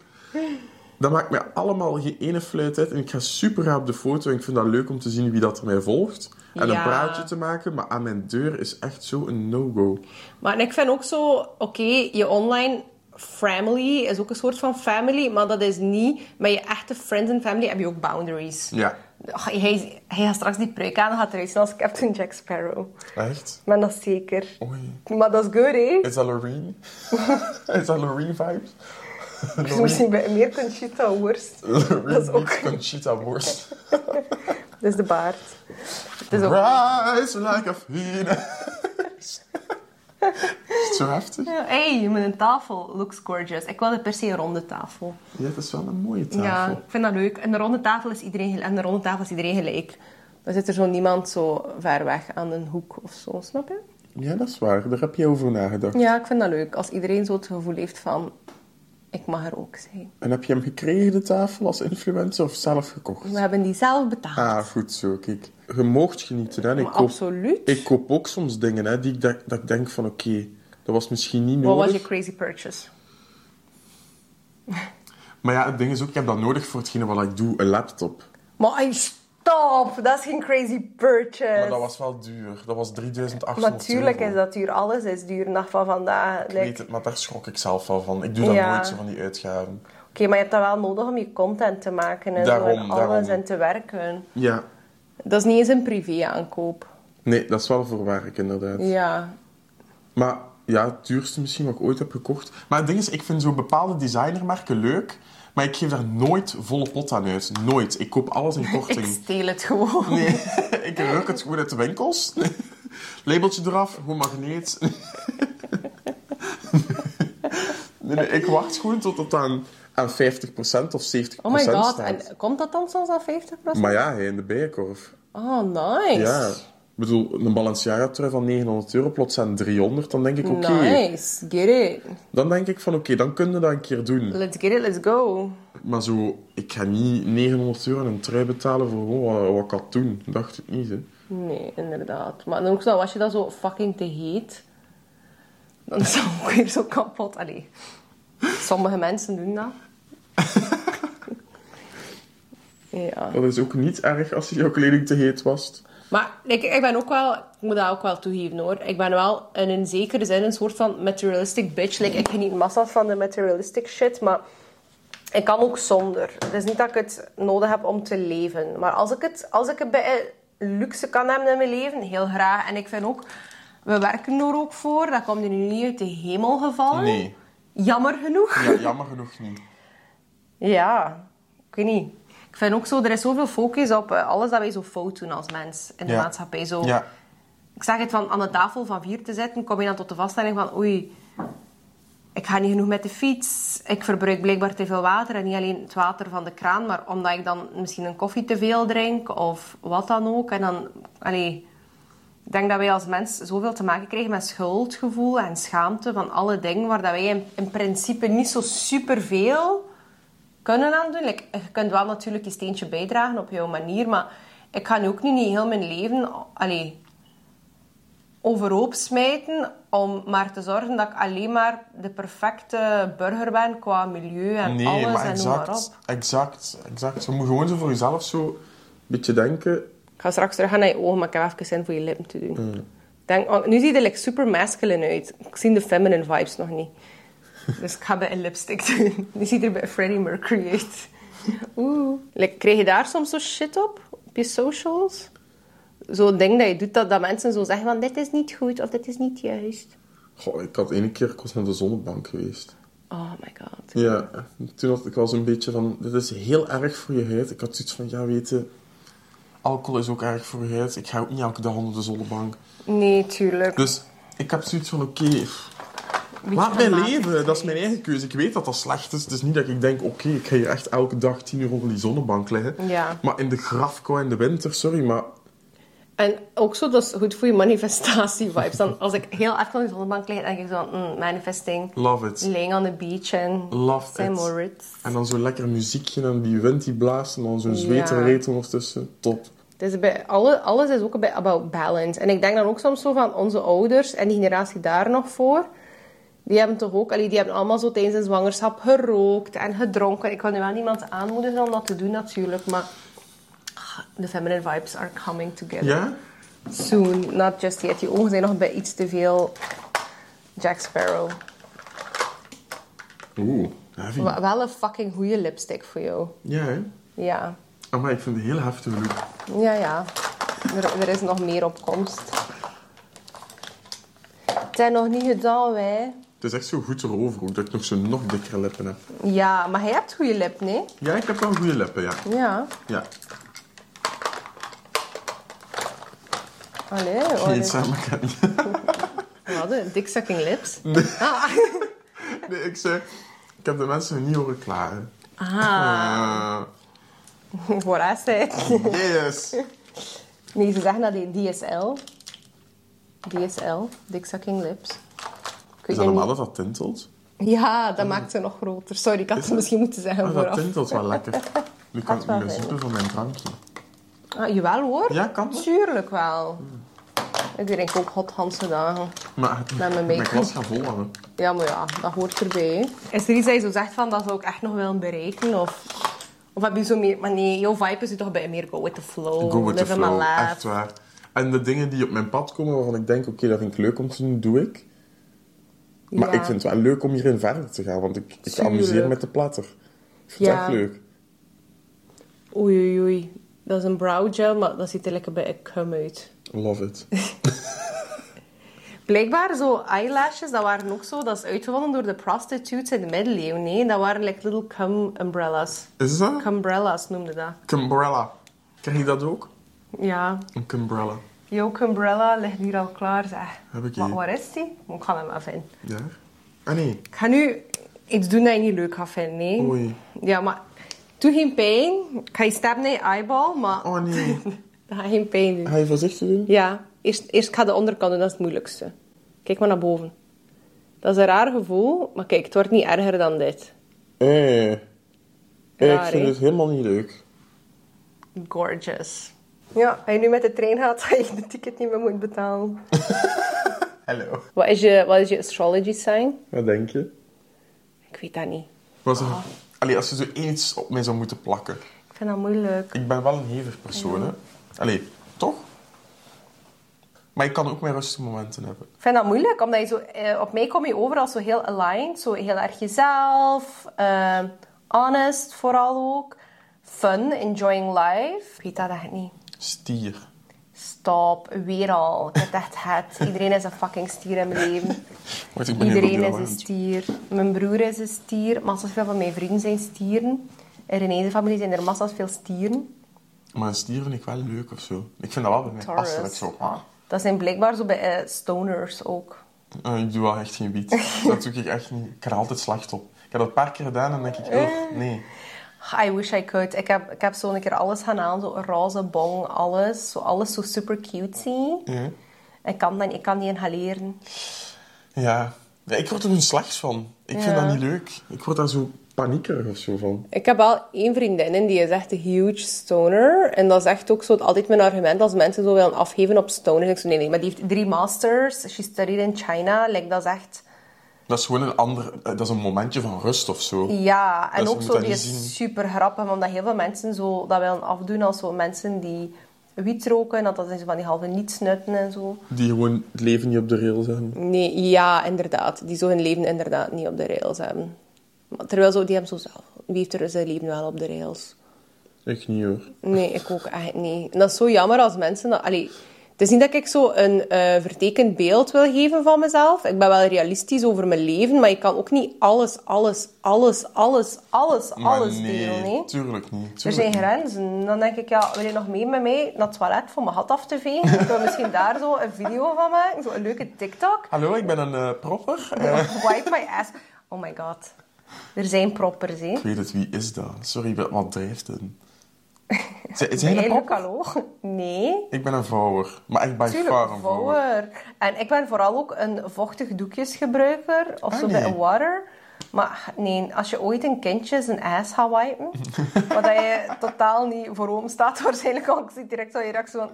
Speaker 1: Dat maakt mij allemaal geen ene fluit uit. En ik ga super graag op de foto. En ik vind dat leuk om te zien wie dat er mij volgt. En
Speaker 2: Ja.
Speaker 1: een praatje te maken. Maar aan mijn deur is echt zo een no-go.
Speaker 2: Maar en ik vind ook zo, oké, je online family is ook een soort van family, maar dat is niet met je echte friends en family heb je ook boundaries.
Speaker 1: Ja.
Speaker 2: Ach, hij, hij gaat straks die pruik aan en gaat eruit zien als Captain Jack Sparrow.
Speaker 1: Echt?
Speaker 2: Maar dat is zeker.
Speaker 1: Oei.
Speaker 2: Maar dat is good, hè?
Speaker 1: Is dat Loreen? is dat Loreen vibes?
Speaker 2: Dus misschien bij meer Conchita worst. Dat is
Speaker 1: Loreen
Speaker 2: ook...
Speaker 1: meets Conchita worst.
Speaker 2: Dat is de baard. Het is ook...
Speaker 1: Rise like a phoenix. is het zo heftig?
Speaker 2: Ja, hey, je moet een tafel. Looks gorgeous. Ik wilde per se een ronde tafel.
Speaker 1: Ja, het is wel een mooie tafel.
Speaker 2: Ja, ik vind dat leuk. En de ronde tafel is iedereen, gel- aan de ronde tafel is iedereen gelijk. Dan zit er zo niemand zo ver weg aan een hoek of zo, snap je?
Speaker 1: Ja, dat is waar. Daar heb je over nagedacht.
Speaker 2: Ja, ik vind dat leuk. Als iedereen zo het gevoel heeft van, ik mag er ook zijn.
Speaker 1: En heb je hem gekregen, de tafel, als influencer of zelf gekocht?
Speaker 2: We hebben die zelf betaald.
Speaker 1: Ah, goed zo, kijk. Je moogt genieten, hè. En Ik
Speaker 2: Maar
Speaker 1: koop,
Speaker 2: absoluut.
Speaker 1: ik koop ook soms dingen, hè, die ik, dat, dat ik denk van, oké, dat was misschien niet
Speaker 2: Wat was
Speaker 1: nodig.
Speaker 2: je crazy purchase?
Speaker 1: Maar ja, het ding is ook, ik heb dat nodig voor hetgene wat ik doe, een laptop.
Speaker 2: Maar ey, stop! Dat is geen crazy purchase.
Speaker 1: Maar dat was wel duur. Dat was 3800
Speaker 2: Eh, Natuurlijk
Speaker 1: euro.
Speaker 2: is dat duur. Alles is duur. Nacht van vandaag.
Speaker 1: Ik
Speaker 2: Like,
Speaker 1: weet het, maar daar schrok ik zelf wel van. Ik doe dat
Speaker 2: Ja.
Speaker 1: nooit, zo van die uitgaven.
Speaker 2: Oké, maar je hebt dat wel nodig om je content te maken en zo en
Speaker 1: Daarom,
Speaker 2: alles
Speaker 1: daarom.
Speaker 2: en te werken.
Speaker 1: Ja.
Speaker 2: Dat is niet eens een privé aankoop.
Speaker 1: Nee, dat is wel voor werk, inderdaad.
Speaker 2: Ja,
Speaker 1: Maar ja, het duurste misschien wat ik ooit heb gekocht. Maar het ding is, ik vind zo bepaalde designermerken leuk, maar ik geef daar nooit volle pot aan uit. Nooit. Ik koop alles in
Speaker 2: ik
Speaker 1: korting.
Speaker 2: steel het gewoon.
Speaker 1: Nee, ik ruk het gewoon uit de winkels. Labeltje eraf, gewoon magneet. Nee, nee, ik wacht gewoon tot het aan, aan 50% of 70%
Speaker 2: Oh my god,
Speaker 1: staat.
Speaker 2: en komt dat dan soms al 50%?
Speaker 1: Maar ja, hij in de bijenkorf.
Speaker 2: Oh, nice.
Speaker 1: Mm. Ja. Ik bedoel, een Balenciaga-trui van 900 euro, plots aan 300, dan denk ik, oké.
Speaker 2: Nice, get it.
Speaker 1: Dan denk ik van, oké, dan kunnen we dat een keer doen.
Speaker 2: Let's get it, let's go.
Speaker 1: Maar zo, ik ga niet 900 euro aan een trui betalen voor gewoon wat, wat ik had toen. Dacht ik niet, hè.
Speaker 2: Nee, inderdaad. Maar dan ook zo, als je dat zo fucking te heet, dan is dat ook weer zo kapot. Allee, sommige mensen doen dat. ja.
Speaker 1: Dat is ook niet erg als jouw kleding te heet was.
Speaker 2: Maar ik, ik ben ook wel, ik moet dat ook wel toegeven hoor. Ik ben wel in een zekere zin een soort van materialistic bitch. Like, ik geniet massa van de materialistic shit, maar ik kan ook zonder. Het is niet dat ik het nodig heb om te leven. Maar als ik het, als ik het bij luxe kan hebben in mijn leven, heel graag. En ik vind ook, we werken er ook voor. Dat komt er nu niet uit de hemel gevallen.
Speaker 1: Nee.
Speaker 2: Jammer genoeg.
Speaker 1: Ja, jammer genoeg niet.
Speaker 2: Ja, ik weet niet. Ik vind ook zo, er is zoveel focus op eh, alles dat wij zo fout doen als mens in de
Speaker 1: Ja.
Speaker 2: maatschappij. Zo,
Speaker 1: Ja.
Speaker 2: Ik zag het van aan de tafel van vier te zitten, kom je dan tot de vaststelling van oei, ik ga niet genoeg met de fiets. Ik verbruik blijkbaar te veel water. En niet alleen het water van de kraan, maar omdat ik dan misschien een koffie te veel drink of wat dan ook. En dan, allee, ik denk dat wij als mens zoveel te maken krijgen met schuldgevoel en schaamte van alle dingen waar dat wij in, in principe niet zo superveel kunnen aan doen. Like, je kunt wel natuurlijk je steentje bijdragen op jouw manier, maar ik ga nu ook nu niet heel mijn leven allee, overhoop smijten om maar te zorgen dat ik alleen maar de perfecte burger ben qua milieu en
Speaker 1: Nee,
Speaker 2: alles
Speaker 1: maar
Speaker 2: en noem maar op.
Speaker 1: exact, exact, exact. Je moet gewoon zo voor jezelf zo een beetje denken.
Speaker 2: Ik ga straks terug gaan naar je ogen, maar ik heb even zin voor je lippen te doen. Denk, oh, nu ziet er like, super masculine uit. Ik zie de feminine vibes nog niet. Dus ik ga bij een lipstick doen. Die ziet er bij Freddie Mercury uit. Oeh. Like, krijg je daar soms zo shit op? Op je socials? Zo'n ding dat je doet, dat, dat mensen zo zeggen van... Dit is niet goed, of dit is niet juist.
Speaker 1: Goh, ik had ene keer, ik was naar de zonnebank geweest.
Speaker 2: Oh my god.
Speaker 1: Ja, toen had ik was een beetje van, dit is heel erg voor je huid. Ik had zoiets van, ja, weet je, Alcohol is ook erg voor je huid. Ik ga ook niet elke dag onder de zonnebank.
Speaker 2: Nee, tuurlijk.
Speaker 1: Dus ik heb zoiets van, oké,
Speaker 2: Beetje
Speaker 1: laat mij
Speaker 2: dramatisch
Speaker 1: leven. Dat is mijn
Speaker 2: geweest.
Speaker 1: eigen keuze. Ik weet dat dat slecht is. Het is niet dat ik denk, oké, ik ga hier echt elke dag tien uur onder die zonnebank liggen.
Speaker 2: Ja.
Speaker 1: Maar in de grafkou in de winter, sorry, maar
Speaker 2: En ook zo, dat is goed voor je manifestatie-vibes. Dan, als ik heel even op de zonnebank lig, denk ik zo van, mm, manifesting.
Speaker 1: love it.
Speaker 2: Laying on the beach en
Speaker 1: Love
Speaker 2: St.
Speaker 1: it.
Speaker 2: Moritz.
Speaker 1: En dan zo'n lekker muziekje en die wind die blaast en dan zo'n
Speaker 2: Ja.
Speaker 1: zweterreet ondertussen. Top.
Speaker 2: Dus bij alle, alles is ook een bit about balance. En ik denk dan ook soms zo van onze ouders en die generatie daar nog voor. Die hebben toch ook, allee, die hebben allemaal zo tijdens hun zwangerschap gerookt en gedronken. Ik kan nu wel niemand aanmoedigen om dat te doen natuurlijk, maar ah, de feminine vibes are coming together
Speaker 1: Ja?
Speaker 2: soon. Not just yet. Die ogen zijn nog bij iets te veel Jack Sparrow.
Speaker 1: Oeh, heavy.
Speaker 2: Wa- Wel een fucking goede lipstick voor jou.
Speaker 1: Ja, hè?
Speaker 2: Ja,
Speaker 1: Maar ik vind het een heel heftige look.
Speaker 2: ja, ja. Er, er is nog meer op komst. Het zijn nog niet gedaan, wij.
Speaker 1: Het is echt zo goed erover ook, dat ik nog zo'n nog dikkere lippen heb.
Speaker 2: Ja, maar jij hebt goede lip, nee?
Speaker 1: Ja, ik heb wel goede lippen, ja.
Speaker 2: Ja.
Speaker 1: Ja.
Speaker 2: Allee,
Speaker 1: Nee,
Speaker 2: hoor.
Speaker 1: het zijn elkaar niet.
Speaker 2: Wat, een dick sucking lips? Ah,
Speaker 1: Nee, ik zei... Ik heb de mensen niet horen klagen.
Speaker 2: ah.
Speaker 1: Ah.
Speaker 2: what I say.
Speaker 1: Eh, yes!
Speaker 2: Nee, ze zeggen dat die DSL. DSL, dick sucking lips. Ik weet
Speaker 1: Is dat normaal
Speaker 2: niet-
Speaker 1: dat dat tintelt?
Speaker 2: Ja, dat maakt ze nog groter. Sorry, ik had het misschien moeten zeggen
Speaker 1: Ah, dat
Speaker 2: vooraf.
Speaker 1: tintelt wel lekker. Nu kan
Speaker 2: is
Speaker 1: ik
Speaker 2: wel
Speaker 1: niet meer
Speaker 2: fijn.
Speaker 1: zoeken van mijn drankje.
Speaker 2: Ah, jawel hoor.
Speaker 1: Ja, kan dat?
Speaker 2: Tuurlijk wel. Ik drink ook hot Hansen dagen.
Speaker 1: Maar
Speaker 2: mijn
Speaker 1: mijn
Speaker 2: make-up.
Speaker 1: glas gaat vol hangen.
Speaker 2: Ja, maar ja, dat hoort erbij. hè. Is er iets dat je zo zegt van dat zou ik echt nog willen bereiken? Of, of heb je zo meer... Maar nee, jouw vibe is nu toch bij meer go with the flow.
Speaker 1: Go with the
Speaker 2: live in my
Speaker 1: flow,
Speaker 2: life.
Speaker 1: echt waar. En de dingen die op mijn pad komen waarvan ik denk, oké, dat vind ik leuk om te doen, doe ik. Maar
Speaker 2: Ja.
Speaker 1: ik vind het wel leuk om hierin verder te gaan, want ik, ik
Speaker 2: Tuurlijk.
Speaker 1: amuseer met de platter. Ik vind
Speaker 2: Ja.
Speaker 1: het echt leuk.
Speaker 2: Oei, oei, oei. Dat is een brow gel, maar dat ziet er lekker bij ik cum uit.
Speaker 1: Love it.
Speaker 2: Blijkbaar, zo eyelashes, dat waren ook zo... Dat is uitgevonden door de prostitutes in de middeleeuwen. Nee, dat waren like little cum umbrellas.
Speaker 1: Is dat?
Speaker 2: Cumbrellas noemde dat.
Speaker 1: Cumbrella. Krijg je dat ook?
Speaker 2: Ja.
Speaker 1: Een cumbrella.
Speaker 2: Jouw cumbrella ligt hier al klaar, zeg.
Speaker 1: Heb ik
Speaker 2: maar
Speaker 1: hier.
Speaker 2: waar is die? Ik ga hem even in.
Speaker 1: Ja? Ah nee.
Speaker 2: Ik ga nu iets doen dat je niet leuk gaat vinden, nee.
Speaker 1: Oei.
Speaker 2: Ja, maar doe geen pijn. Ik ga je stab naar je eyeball, maar
Speaker 1: Oh nee.
Speaker 2: dat gaat geen pijn doen.
Speaker 1: Ga je voorzichtig doen?
Speaker 2: Ja, eerst, eerst ik ga de onderkant doen, dat is het moeilijkste. Kijk maar naar boven. Dat is een raar gevoel, maar kijk, het wordt niet erger dan dit.
Speaker 1: Eh. Eh, ik
Speaker 2: Raar,
Speaker 1: vind
Speaker 2: hè?
Speaker 1: het helemaal niet leuk.
Speaker 2: Gorgeous. Ja, als je nu met de trein gaat, ga je de ticket niet meer moet betalen.
Speaker 1: Hallo.
Speaker 2: Wat is je, wat is je astrology sign?
Speaker 1: Wat denk je?
Speaker 2: Ik weet dat niet.
Speaker 1: Was er...
Speaker 2: Ah.
Speaker 1: Allee, als je zo iets op mij zou moeten plakken.
Speaker 2: Ik vind dat moeilijk.
Speaker 1: Ik ben wel een hevig persoon, hè. Allee, toch? Maar ik kan ook mijn rustige momenten hebben.
Speaker 2: Ik vind dat moeilijk, omdat je zo, eh, op mij kom je overal zo heel aligned. Zo heel erg jezelf, eh, honest vooral ook. Fun, enjoying life. Ik weet dat echt niet.
Speaker 1: Stier.
Speaker 2: Stop, weer al. Ik heb het echt het. Iedereen is een fucking stier in mijn leven.
Speaker 1: Wacht, ik ben heel
Speaker 2: Iedereen is dus-
Speaker 1: goed
Speaker 2: een
Speaker 1: in
Speaker 2: stier. Mijn broer is een stier. Massas veel van mijn vrienden zijn stieren. In René's familie zijn er massas veel stieren.
Speaker 1: Maar een stier vind ik wel leuk of zo. Ik vind dat wel bij mij
Speaker 2: Taurus.
Speaker 1: passen. dat ik zo, ah,
Speaker 2: Dat zijn blijkbaar zo bij eh, stoners ook.
Speaker 1: eh, ik doe wel echt geen bied. dat doe ik echt niet. Ik heb er altijd slacht op. Ik heb dat een paar keer gedaan en dan denk ik, oh,
Speaker 2: Eh.
Speaker 1: nee.
Speaker 2: I wish I could. Ik heb, ik heb zo een keer alles gaan aan. Zo een roze bong, alles. Zo, alles zo super cutesy.
Speaker 1: Ja.
Speaker 2: Ik kan, dan, ik kan niet in gaan leren.
Speaker 1: Ja. Ja, ik word er een slags van. Ik vind
Speaker 2: Ja.
Speaker 1: dat niet leuk. Ik word daar zo paniekerig of zo van.
Speaker 2: Ik heb wel één vriendin die is echt een huge stoner. En dat is echt ook zo altijd mijn argument als mensen zo willen afgeven op stoners. Ik zo, nee, nee, maar die heeft drie masters. She studied in China. Like, dat is echt...
Speaker 1: Dat is gewoon een ander... eh, Dat is een momentje van rust of zo.
Speaker 2: Ja, en
Speaker 1: Dus je
Speaker 2: ook
Speaker 1: moet
Speaker 2: zo
Speaker 1: dat
Speaker 2: die
Speaker 1: niet zien.
Speaker 2: is super grappig, omdat heel veel mensen zo dat willen afdoen als zo mensen die wiet roken, dat dat zijn zo van die halve niet snutten en zo.
Speaker 1: Die gewoon het leven niet op de rails hebben.
Speaker 2: Nee, ja, inderdaad. Die zo hun leven inderdaad niet op de rails hebben. Maar terwijl zo, die hebben zo zelf. Wie heeft er zijn leven wel op de rails?
Speaker 1: Echt niet hoor.
Speaker 2: Nee, ik ook echt niet. En dat is zo jammer als mensen dat... Allee, Het is niet dat ik zo een eh, vertekend beeld wil geven van mezelf. Ik ben wel realistisch over mijn leven, maar je kan ook niet alles, alles, alles, alles, alles,
Speaker 1: Maar
Speaker 2: alles delen. hè.
Speaker 1: tuurlijk niet.
Speaker 2: Er
Speaker 1: tuurlijk
Speaker 2: zijn
Speaker 1: niet.
Speaker 2: grenzen. Dan denk ik, ja, wil je nog mee met mij naar het toilet voor mijn gat af te vegen? Dan kunnen we misschien daar zo een video van maken. Zo een leuke TikTok.
Speaker 1: Hallo, ik ben een eh, propper. Eh,
Speaker 2: Wipe my ass. Oh my god. Er zijn proppers, hè.
Speaker 1: ik weet het, wie is dat? Sorry, wat- wat drijft in? Zijn
Speaker 2: Ben
Speaker 1: zijn
Speaker 2: jij
Speaker 1: een
Speaker 2: ook
Speaker 1: propper?
Speaker 2: hallo? Nee.
Speaker 1: Ik ben een vouwer. Maar echt by
Speaker 2: Tuurlijk,
Speaker 1: far een vouwer.
Speaker 2: vouwer. En ik ben vooral ook een vochtig doekjesgebruiker. Of
Speaker 1: Ah,
Speaker 2: zo
Speaker 1: nee.
Speaker 2: bij water. Maar nee, als je ooit een kindje zijn ass gaat wipen, wat dat je totaal niet voor oom staat waarschijnlijk, want ik zie direct zo je reactie van...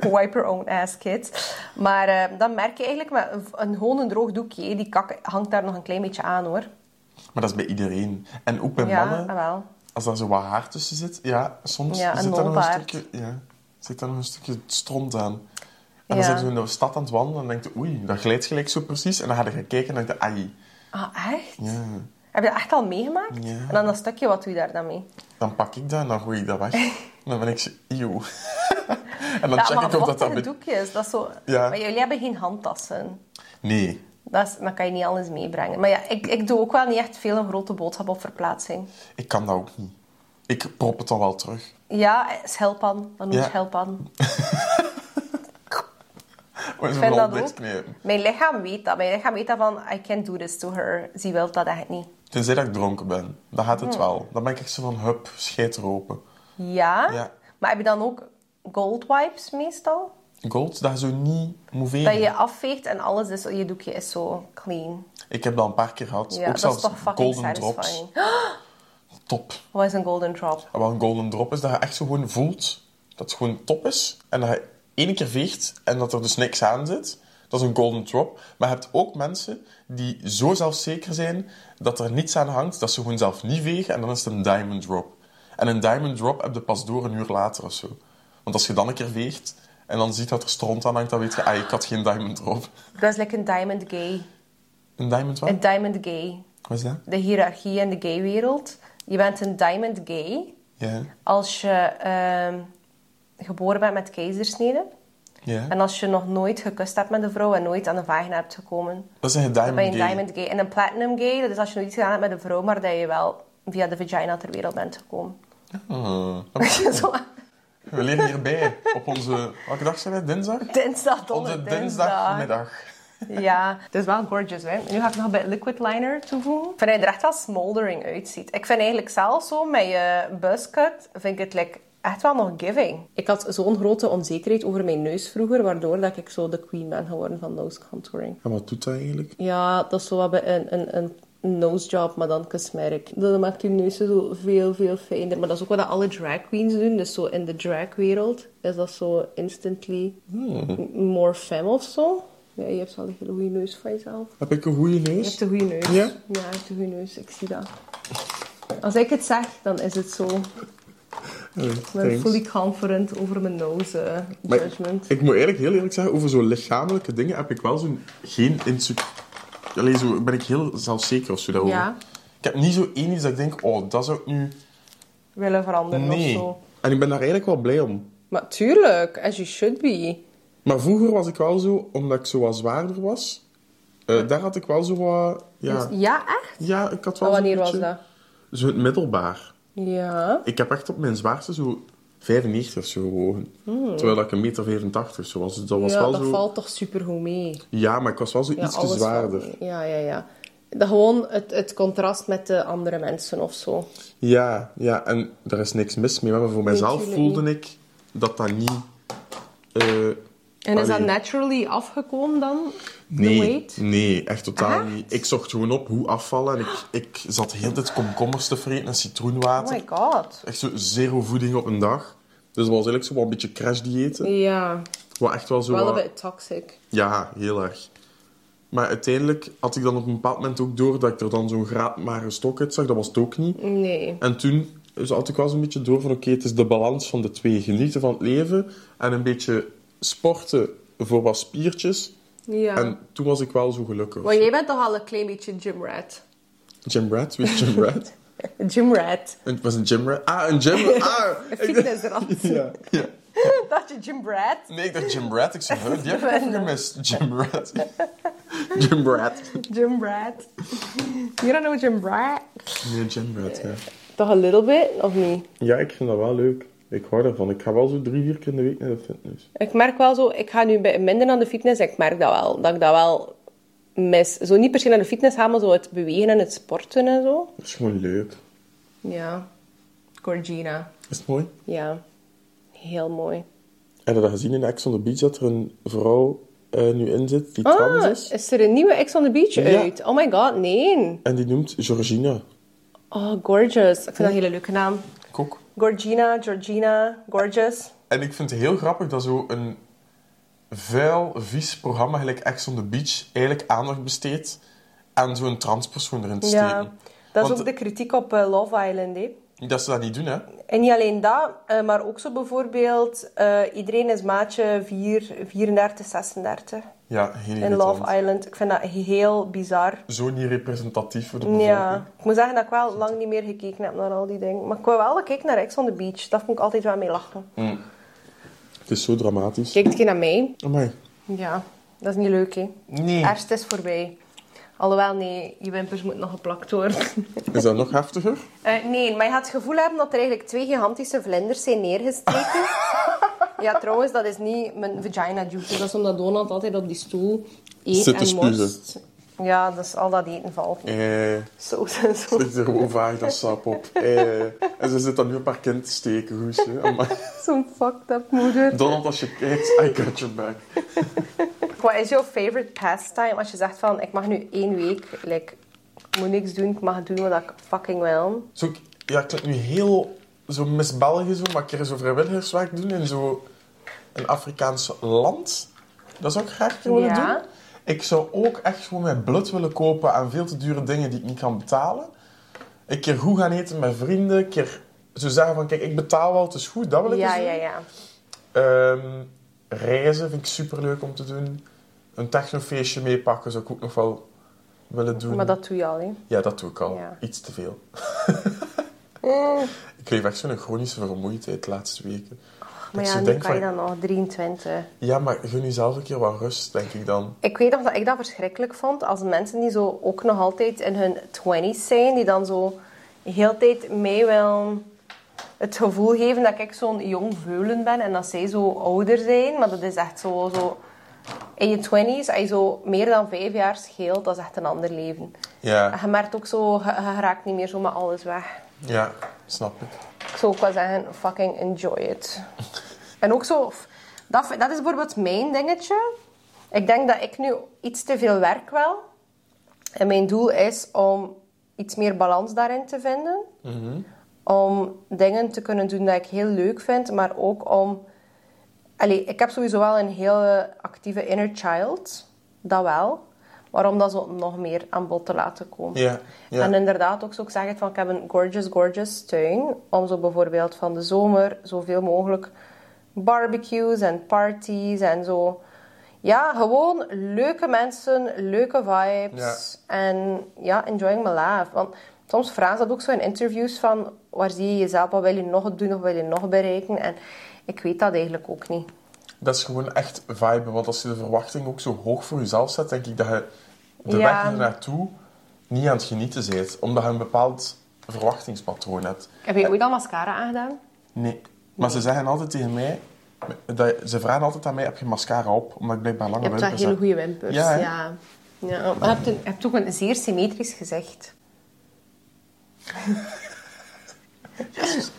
Speaker 2: Wipe your own ass, kids. Maar eh, dan merk je eigenlijk met een, een, gewoon een droog doekje, hè, die kak hangt daar nog een klein beetje aan hoor.
Speaker 1: Maar dat is bij iedereen. En ook bij
Speaker 2: Ja, ah,
Speaker 1: mannen.
Speaker 2: wel.
Speaker 1: Als daar zo wat haar tussen zit, ja, soms
Speaker 2: Ja,
Speaker 1: zit
Speaker 2: een
Speaker 1: daar nog een
Speaker 2: nolbaard.
Speaker 1: stukje, ja, zit daar nog een stukje stront aan. En dan
Speaker 2: Ja.
Speaker 1: zit je in de stad aan het wandelen en denk je, oei, dat glijdt gelijk zo precies. En dan ga je gaan kijken en denk je, ai,
Speaker 2: Ah, echt?
Speaker 1: ja.
Speaker 2: Heb je dat echt al meegemaakt?
Speaker 1: Ja.
Speaker 2: En dan dat stukje, wat doe je daar dan mee?
Speaker 1: Dan pak ik dat en dan gooi ik dat weg. dan ben ik zo, eeuw. en dan
Speaker 2: Ja,
Speaker 1: check
Speaker 2: maar
Speaker 1: ik of dat dat...
Speaker 2: vochtige
Speaker 1: be-
Speaker 2: doekjes, dat is zo...
Speaker 1: Ja.
Speaker 2: Maar jullie hebben geen handtassen.
Speaker 1: Nee,
Speaker 2: Dat, is, dat kan je niet alles meebrengen. Maar ja, ik, ik doe ook wel niet echt veel een grote boodschap op verplaatsing.
Speaker 1: ik kan dat ook niet. Ik prop het dan wel terug.
Speaker 2: Ja, schelpan. Dan moet
Speaker 1: Ja.
Speaker 2: je schelpan.
Speaker 1: Ik
Speaker 2: vind dat ook. Mijn lichaam weet dat. Mijn lichaam weet dat van... I can't do this to her. Ze wil dat echt niet.
Speaker 1: Tenzij dat ik dronken ben. Dan gaat het wel. Dan ben ik echt zo van, hup, scheet open.
Speaker 2: Ja?
Speaker 1: Ja.
Speaker 2: Maar heb je dan ook gold wipes meestal?
Speaker 1: Gold, dat je zo niet moet
Speaker 2: Dat
Speaker 1: vegen.
Speaker 2: je afveegt en alles is... Je doekje is zo clean.
Speaker 1: Ik heb dat een paar keer gehad.
Speaker 2: Ja,
Speaker 1: ook
Speaker 2: dat
Speaker 1: zelfs
Speaker 2: is toch fucking
Speaker 1: golden drops.
Speaker 2: satisfying.
Speaker 1: Top.
Speaker 2: Wat is een golden drop?
Speaker 1: En wat een golden drop is, dat je echt zo gewoon voelt dat het gewoon top is. En dat je één keer veegt en dat er dus niks aan zit. Dat is een golden drop. Maar je hebt ook mensen die zo zelfzeker zijn dat er niets aan hangt, dat ze gewoon zelf niet wegen. En dan is het een diamond drop. En een diamond drop heb je pas door een uur later of zo. Want als je dan een keer veegt en dan ziet dat er stront aan hangt, dan weet je, ah, ik had geen diamond drop.
Speaker 2: Dat is like een diamond gay.
Speaker 1: Een diamond wat?
Speaker 2: Een diamond gay.
Speaker 1: Wat is dat?
Speaker 2: de hiërarchie in de gaywereld. Je bent een diamond gay
Speaker 1: Ja.
Speaker 2: als je ehm, geboren bent met keizersnede.
Speaker 1: Ja.
Speaker 2: En als je nog nooit gekust hebt met een vrouw en nooit aan de vagina hebt gekomen.
Speaker 1: Dat is een
Speaker 2: Dan
Speaker 1: diamond
Speaker 2: ben je een
Speaker 1: gay.
Speaker 2: diamond gay. En een platinum gay, dat is als je nog iets gedaan hebt met een vrouw, maar dat je wel via de vagina ter wereld bent gekomen.
Speaker 1: Ah.
Speaker 2: Zo,
Speaker 1: We leren hierbij op onze... Welke dag zijn wij? Dinsdag?
Speaker 2: dinsdag,
Speaker 1: Onze
Speaker 2: donderdag, dinsdag.
Speaker 1: dinsdagmiddag.
Speaker 2: Ja, het is wel gorgeous, hè. Nu ga ik nog bij liquid liner toevoegen. Ik vind dat je er echt wel smoldering uitziet. Ik vind eigenlijk zelf zo, met je buscut, vind ik het like, echt wel nog giving. Ik had zo'n grote onzekerheid over mijn neus vroeger, waardoor dat ik zo de queen ben geworden van nose contouring.
Speaker 1: En wat doet dat eigenlijk?
Speaker 2: Ja, dat is zo wat bij een, een, een nosejob, maar dan kusmerk. Dat maakt je neus zo veel, veel fijner. Maar dat is ook wat alle drag queens doen. Dus zo in de dragwereld is dat zo instantly
Speaker 1: Hmm.
Speaker 2: m- more femme of zo. Ja, je hebt wel een hele goede neus van jezelf.
Speaker 1: Heb ik een goede
Speaker 2: Je
Speaker 1: neus?
Speaker 2: hebt een goede neus.
Speaker 1: Ja?
Speaker 2: Ja, je hebt een goede neus. Ik zie dat. Als ik het zeg, dan is het zo.
Speaker 1: Eh,
Speaker 2: Ik ben fully confident over mijn nose eh, judgment.
Speaker 1: ik moet eigenlijk heel eerlijk zeggen, over zo'n lichamelijke dingen heb ik wel zo'n geen insecure... Allee, zo ben ik heel zelfzeker of zo daarover.
Speaker 2: Ja.
Speaker 1: Ik heb niet zo één iets dat ik denk, oh, dat zou ik nu...
Speaker 2: Willen veranderen
Speaker 1: Nee.
Speaker 2: of zo.
Speaker 1: En ik ben daar eigenlijk wel blij om.
Speaker 2: Maar tuurlijk, as you should be.
Speaker 1: Maar vroeger was ik wel zo, omdat ik zo wat zwaarder was, eh, daar had ik wel zo wat... Ja,
Speaker 2: Ja, echt?
Speaker 1: ja ik had wel zo'n
Speaker 2: wanneer was
Speaker 1: beetje-
Speaker 2: dat?
Speaker 1: Zo in het middelbaar.
Speaker 2: Ja.
Speaker 1: Ik heb echt op mijn zwaarste zo 95 of zo gewogen. Terwijl ik een meter 85 zo was. Dus dat was
Speaker 2: Hmm. ja,
Speaker 1: wel
Speaker 2: dat
Speaker 1: zo...
Speaker 2: valt toch super goed mee.
Speaker 1: Ja, maar ik was wel zo
Speaker 2: Ja,
Speaker 1: ietsje
Speaker 2: alles
Speaker 1: zwaarder.
Speaker 2: valt mee. Ja, ja, ja. Dat gewoon het, het contrast met de andere mensen of zo.
Speaker 1: Ja, ja, en daar is niks mis mee. Maar voor mijzelf
Speaker 2: tuurlijk
Speaker 1: voelde ik dat dat niet... eh,
Speaker 2: En is dat
Speaker 1: allee,
Speaker 2: naturally afgekomen dan? The
Speaker 1: Nee,
Speaker 2: weight?
Speaker 1: nee, echt totaal
Speaker 2: Echt?
Speaker 1: niet. Ik zocht gewoon op hoe afvallen. En ik, ik zat de hele tijd komkommers te vreten en
Speaker 2: Oh
Speaker 1: citroenwater.
Speaker 2: my god.
Speaker 1: echt zo zero voeding op een dag. Dus dat was eigenlijk zo wel een beetje crash-diëten.
Speaker 2: Ja,
Speaker 1: Wat echt wel zo...
Speaker 2: wel
Speaker 1: wat-
Speaker 2: een beetje toxic.
Speaker 1: Ja, heel erg. Maar uiteindelijk had ik dan op een bepaald moment ook door dat ik er dan zo'n graadmare stok uit zag. Dat was het ook niet.
Speaker 2: Nee.
Speaker 1: En toen dus had ik wel zo'n beetje door van oké, het is de balans van de twee. Genieten van het leven en een beetje sporten voor wat spiertjes.
Speaker 2: Ja.
Speaker 1: En toen was ik wel zo gelukkig.
Speaker 2: Maar jij bent toch al een klein beetje gymrat.
Speaker 1: Jim Brad, wie is Jim Brad?
Speaker 2: Gymrat.
Speaker 1: Het was een Jim Brad. Ah, een Jim Ah!
Speaker 2: Een fitnessrat.
Speaker 1: Ja, ja.
Speaker 2: Dat dacht je Jim Brad?
Speaker 1: Nee, ik dacht Jim Brad. Ik zei, huh, die heb ik even gemist. Jim Brad. Jim Brad.
Speaker 2: Jim Brad. You don't know Jim Brad?
Speaker 1: Nee, Jim Brad, ja.
Speaker 2: Toch een little bit, of niet?
Speaker 1: Ja, ik vind dat wel leuk. Ik hou daarvan. Ik ga wel zo drie, vier keer in de week naar de fitness.
Speaker 2: Ik merk wel zo, ik ga nu bij- minder naar de fitness. Ik merk dat wel, dat ik dat wel mis. Zo niet per se naar de fitness gaan, maar zo het bewegen en het sporten en zo.
Speaker 1: Dat is gewoon leuk.
Speaker 2: Ja. Gorgina.
Speaker 1: Is het mooi?
Speaker 2: Ja. Heel mooi.
Speaker 1: Heb je dat gezien in Ex on the Beach, dat er een vrouw eh, nu in zit die trans
Speaker 2: Ah,
Speaker 1: is?
Speaker 2: is er een nieuwe Ex on the Beach
Speaker 1: Ja.
Speaker 2: uit? Oh my god, nee.
Speaker 1: En die noemt Georgina.
Speaker 2: Oh, gorgeous. Ik vind dat een hele leuke naam.
Speaker 1: Kok.
Speaker 2: Gorgina, Georgina, gorgeous.
Speaker 1: En ik vind het heel grappig dat zo'n vuil, vies programma, gelijk Ex on the Beach, eigenlijk aandacht besteedt aan zo'n transpersoon erin te steken.
Speaker 2: Ja. Dat is
Speaker 1: Want
Speaker 2: ook de kritiek op eh, Love Island, hè.
Speaker 1: Dat ze dat niet doen, hè?
Speaker 2: En niet alleen dat, eh, maar ook zo bijvoorbeeld... eh, iedereen is maatje 4, 34, 36
Speaker 1: Ja, heel
Speaker 2: in
Speaker 1: irritant.
Speaker 2: Love Island. Ik vind dat heel bizar.
Speaker 1: Zo niet representatief voor de bevolking.
Speaker 2: Ja, ik moet zeggen dat ik wel lang niet meer gekeken heb naar al die dingen. Maar ik wil wel kijken naar Ex on the Beach. Daar vond ik altijd wel mee lachen.
Speaker 1: Het is zo dramatisch.
Speaker 2: Kijkt geen naar mij?
Speaker 1: Amai.
Speaker 2: Ja, dat is niet leuk, hè.
Speaker 1: Nee.
Speaker 2: Erst is voorbij. Alhoewel, nee, je wimpers moeten nog geplakt worden.
Speaker 1: Is dat nog heftiger?
Speaker 2: Eh, nee, maar je gaat het gevoel hebben dat er eigenlijk twee gigantische vlinders zijn neergestreken. ja, trouwens, dat is niet mijn vagina juice. Dat is omdat Donald altijd op die stoel eet
Speaker 1: Zit te
Speaker 2: en
Speaker 1: spugen.
Speaker 2: morst. Ja, dat is al dat eten valt.
Speaker 1: Eh,
Speaker 2: Saus en zo.
Speaker 1: ligt er gewoon vaag dat sap op. Eh, en ze zit oh dan nu op haar kind te steken, goes. hè. Amai.
Speaker 2: Zo'n fucked up moeder.
Speaker 1: Donald, als je kijkt, I got your back.
Speaker 2: Wat is jouw favorite pastime als je zegt van ik mag nu één week, like, ik moet niks doen, ik mag doen wat ik fucking wil?
Speaker 1: Zo, ik- ja, ik klinkt nu heel zo Miss België, zo, maar een keer zo vrijwilligerswerk doen in zo'n Afrikaans land. Dat zou ik graag een keer willen
Speaker 2: Ja.
Speaker 1: doen. Ik zou ook echt gewoon mijn blut willen kopen aan veel te dure dingen die ik niet kan betalen. Een keer goed gaan eten met vrienden. Een keer zo zeggen van, kijk, ik betaal wel, het is goed. Dat wil ik
Speaker 2: Ja,
Speaker 1: eens doen.
Speaker 2: ja, ja.
Speaker 1: Ehm, reizen vind ik superleuk om te doen. Een technofeestje meepakken zou ik ook nog wel willen doen.
Speaker 2: Maar dat doe je al, hè.
Speaker 1: Ja, dat doe ik al.
Speaker 2: Ja. Eh.
Speaker 1: Iets te veel. ik kreeg echt zo'n chronische vermoeidheid de laatste weken. Dat
Speaker 2: Maar
Speaker 1: ik
Speaker 2: ja,
Speaker 1: zo
Speaker 2: nu
Speaker 1: denk
Speaker 2: kan je
Speaker 1: van,
Speaker 2: dan nog 23.
Speaker 1: Ja, maar gun jezelf een keer wat rust, denk ik dan.
Speaker 2: Ik weet nog dat ik dat verschrikkelijk vond als mensen die zo ook nog altijd in hun 20s zijn, die dan zo heel de tijd mij wel het gevoel geven dat ik zo'n jong veulen ben en dat zij zo ouder zijn. Maar dat is echt zo, zo in je 20s, als je zo meer dan vijf jaar scheelt, dat is echt een ander leven.
Speaker 1: Ja,
Speaker 2: Je merkt ook zo, je, je raakt niet meer zomaar alles weg.
Speaker 1: ja snap ik.
Speaker 2: Ik zou ook wel zeggen, fucking enjoy it. En ook zo, f- dat, dat is bijvoorbeeld mijn dingetje. Ik denk dat ik nu iets te veel werk wel. En mijn doel is om iets meer balans daarin te vinden.
Speaker 1: Mhm.
Speaker 2: Om dingen te kunnen doen dat ik heel leuk vind, maar ook om... Allee, ik heb sowieso wel een heel actieve inner child. Dat wel. Maar om dat zo nog meer aan bod te laten komen.
Speaker 1: Ja, ja.
Speaker 2: En inderdaad ook zo zeggen van ik heb een gorgeous, gorgeous tuin. Om zo bijvoorbeeld van de zomer zoveel mogelijk barbecues en parties en zo. Ja, gewoon leuke mensen, leuke vibes. En ja, enjoying my life. Want soms vragen ze dat ook zo in interviews van waar zie je jezelf, wat wil je nog doen of wil je nog bereiken. En ik weet dat eigenlijk ook niet.
Speaker 1: Dat is gewoon echt vibe. Want als je de verwachting ook zo hoog voor jezelf zet, denk ik dat je de
Speaker 2: Ja.
Speaker 1: weg hier naartoe niet aan het genieten bent. Omdat je een bepaald verwachtingspatroon hebt.
Speaker 2: Heb je ooit al mascara aangedaan?
Speaker 1: Nee. Maar ze zeggen altijd tegen mij... Dat, ze vragen altijd aan mij, heb je mascara op? Omdat ik blijkbaar lange
Speaker 2: Je hebt wel
Speaker 1: wimpers
Speaker 2: hele
Speaker 1: heb.
Speaker 2: goede wimpers.
Speaker 1: Ja,
Speaker 2: Ja,
Speaker 1: hè?
Speaker 2: ja. Oh, Maar je hebt, een- je hebt ook een zeer symmetrisch gezicht.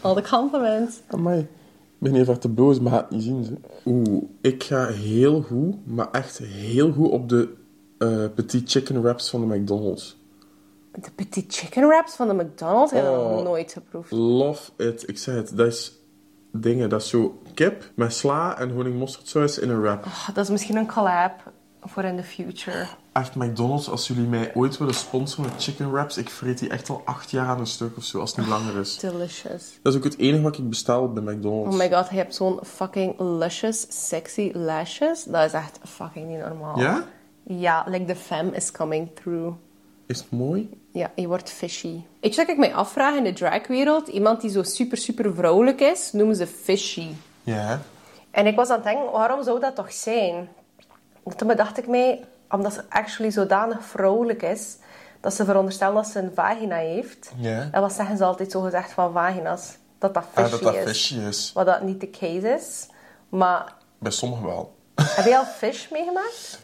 Speaker 2: Al de compliments.
Speaker 1: Amai. Ik ben even te boos, maar het niet zien. Ze. Oeh, ik ga heel goed, maar echt heel goed op de eh petit chicken wraps van de McDonald's.
Speaker 2: De petit chicken wraps van de McDonald's heb ik nog
Speaker 1: Oh.
Speaker 2: nooit geproefd.
Speaker 1: Love it. Ik zei het, dat is dingen. Dat is zo kip met sla en honingmosterdsaus in een wrap.
Speaker 2: Oh, dat is misschien een collab voor in the future.
Speaker 1: Echt, McDonald's, als jullie mij ooit willen sponsoren met chicken wraps, ik vreet die echt al acht jaar aan een stuk of zo, als het niet langer is.
Speaker 2: Delicious.
Speaker 1: Dat is ook het enige wat ik bestel bij McDonald's.
Speaker 2: Oh my god, je hebt zo'n fucking luscious, sexy lashes. Dat is echt fucking niet normaal.
Speaker 1: Ja?
Speaker 2: Ja, like the femme is coming through.
Speaker 1: Is het mooi?
Speaker 2: Ja, je wordt fishy. Weet je wat ik mij afvraag in de dragwereld? Iemand die zo super, super vrouwelijk is, noemen ze fishy.
Speaker 1: Ja.
Speaker 2: En ik was aan het denken, waarom zou dat toch zijn? En Toen bedacht ik mij, omdat ze actually zodanig vrouwelijk is, dat ze veronderstellen dat ze een vagina heeft.
Speaker 1: Ja.
Speaker 2: En wat zeggen ze altijd zo gezegd van vagina's? Dat dat
Speaker 1: Ah,
Speaker 2: fishy
Speaker 1: dat dat
Speaker 2: is.
Speaker 1: visje is.
Speaker 2: Wat dat niet de case is. Maar
Speaker 1: Bij sommigen wel.
Speaker 2: heb jij al fish meegemaakt?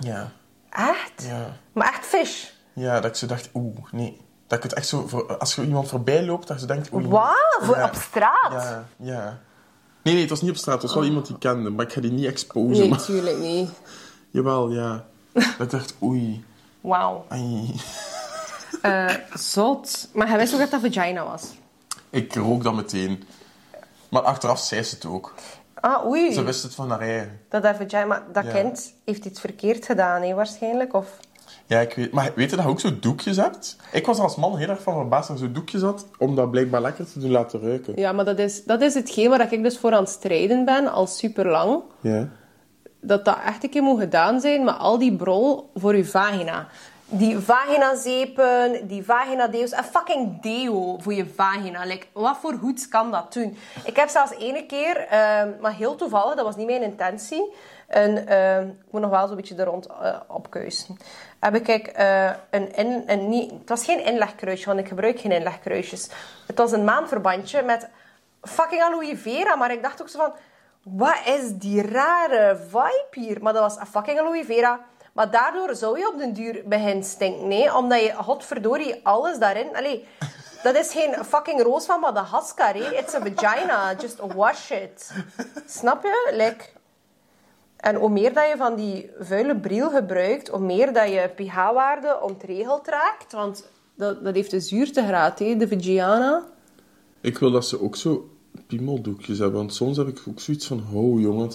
Speaker 1: Ja.
Speaker 2: Echt?
Speaker 1: Ja.
Speaker 2: Maar echt fish?
Speaker 1: Ja, dat ik zo dacht, oeh, nee. Dat ik het echt zo, voor- als je iemand voorbij loopt, dat je denkt, oeh.
Speaker 2: Wat? Voor
Speaker 1: Ja.
Speaker 2: op straat?
Speaker 1: Ja, ja. Nee, nee, het was niet op straat. Het was wel iemand die ik kende, maar ik ga die niet exposen.
Speaker 2: Nee,
Speaker 1: maar-
Speaker 2: natuurlijk niet.
Speaker 1: Jawel, ja. Dat ik dacht, oei.
Speaker 2: Wauw.
Speaker 1: ai.
Speaker 2: Zot. Maar hij wist ook dat dat vagina was.
Speaker 1: Ik rook dat meteen. Maar achteraf zei ze het ook.
Speaker 2: Ah, oei.
Speaker 1: Ze wist het van haar eigen.
Speaker 2: Dat dat vagina... Maar dat
Speaker 1: Ja.
Speaker 2: kind heeft iets verkeerd gedaan, hè, waarschijnlijk. Of...
Speaker 1: Ja, ik weet... Maar weet je dat je ook zo doekjes hebt? Ik was er als man heel erg van verbaasd dat je zo doekjes had, om dat blijkbaar lekker te doen laten ruiken.
Speaker 2: Ja, maar dat is, dat is hetgeen waar ik dus voor aan het strijden ben, al super lang.
Speaker 1: Ja.
Speaker 2: Dat dat echt een keer moet gedaan zijn, maar al die brol voor uw vagina. Die vagina-zeepen, die vagina-deo's en fucking deo voor je vagina. Like, wat voor goeds kan dat doen? Ik heb zelfs ene keer, ehm, maar heel toevallig, dat was niet mijn intentie. En, ehm, ik moet nog wel zo'n beetje er rond eh, opkuisen. Heb ik kijk, eh, een, in, een niet, het was geen inlegkruisje, want ik gebruik geen inlegkruisjes. Het was een maandverbandje met fucking aloe vera, maar ik dacht ook zo van... Wat is die rare vibe hier? Maar dat was een fucking aloe vera. Maar daardoor zou je op den duur beginnen stinken, nee? Omdat je, godverdorie, alles daarin... Allee, dat is geen fucking roos van Madagaskar, hè? It's a vagina. Just wash it. Snap je? Like... En hoe meer dat je van die vuile bril gebruikt, hoe meer dat je pH-waarde ontregeld raakt. Want dat, dat heeft de zuurtegraad, hè? de Vigiana.
Speaker 1: Ik wil dat ze ook zo piemeldoekjes hebben, want soms heb ik ook zoiets van, ho jongen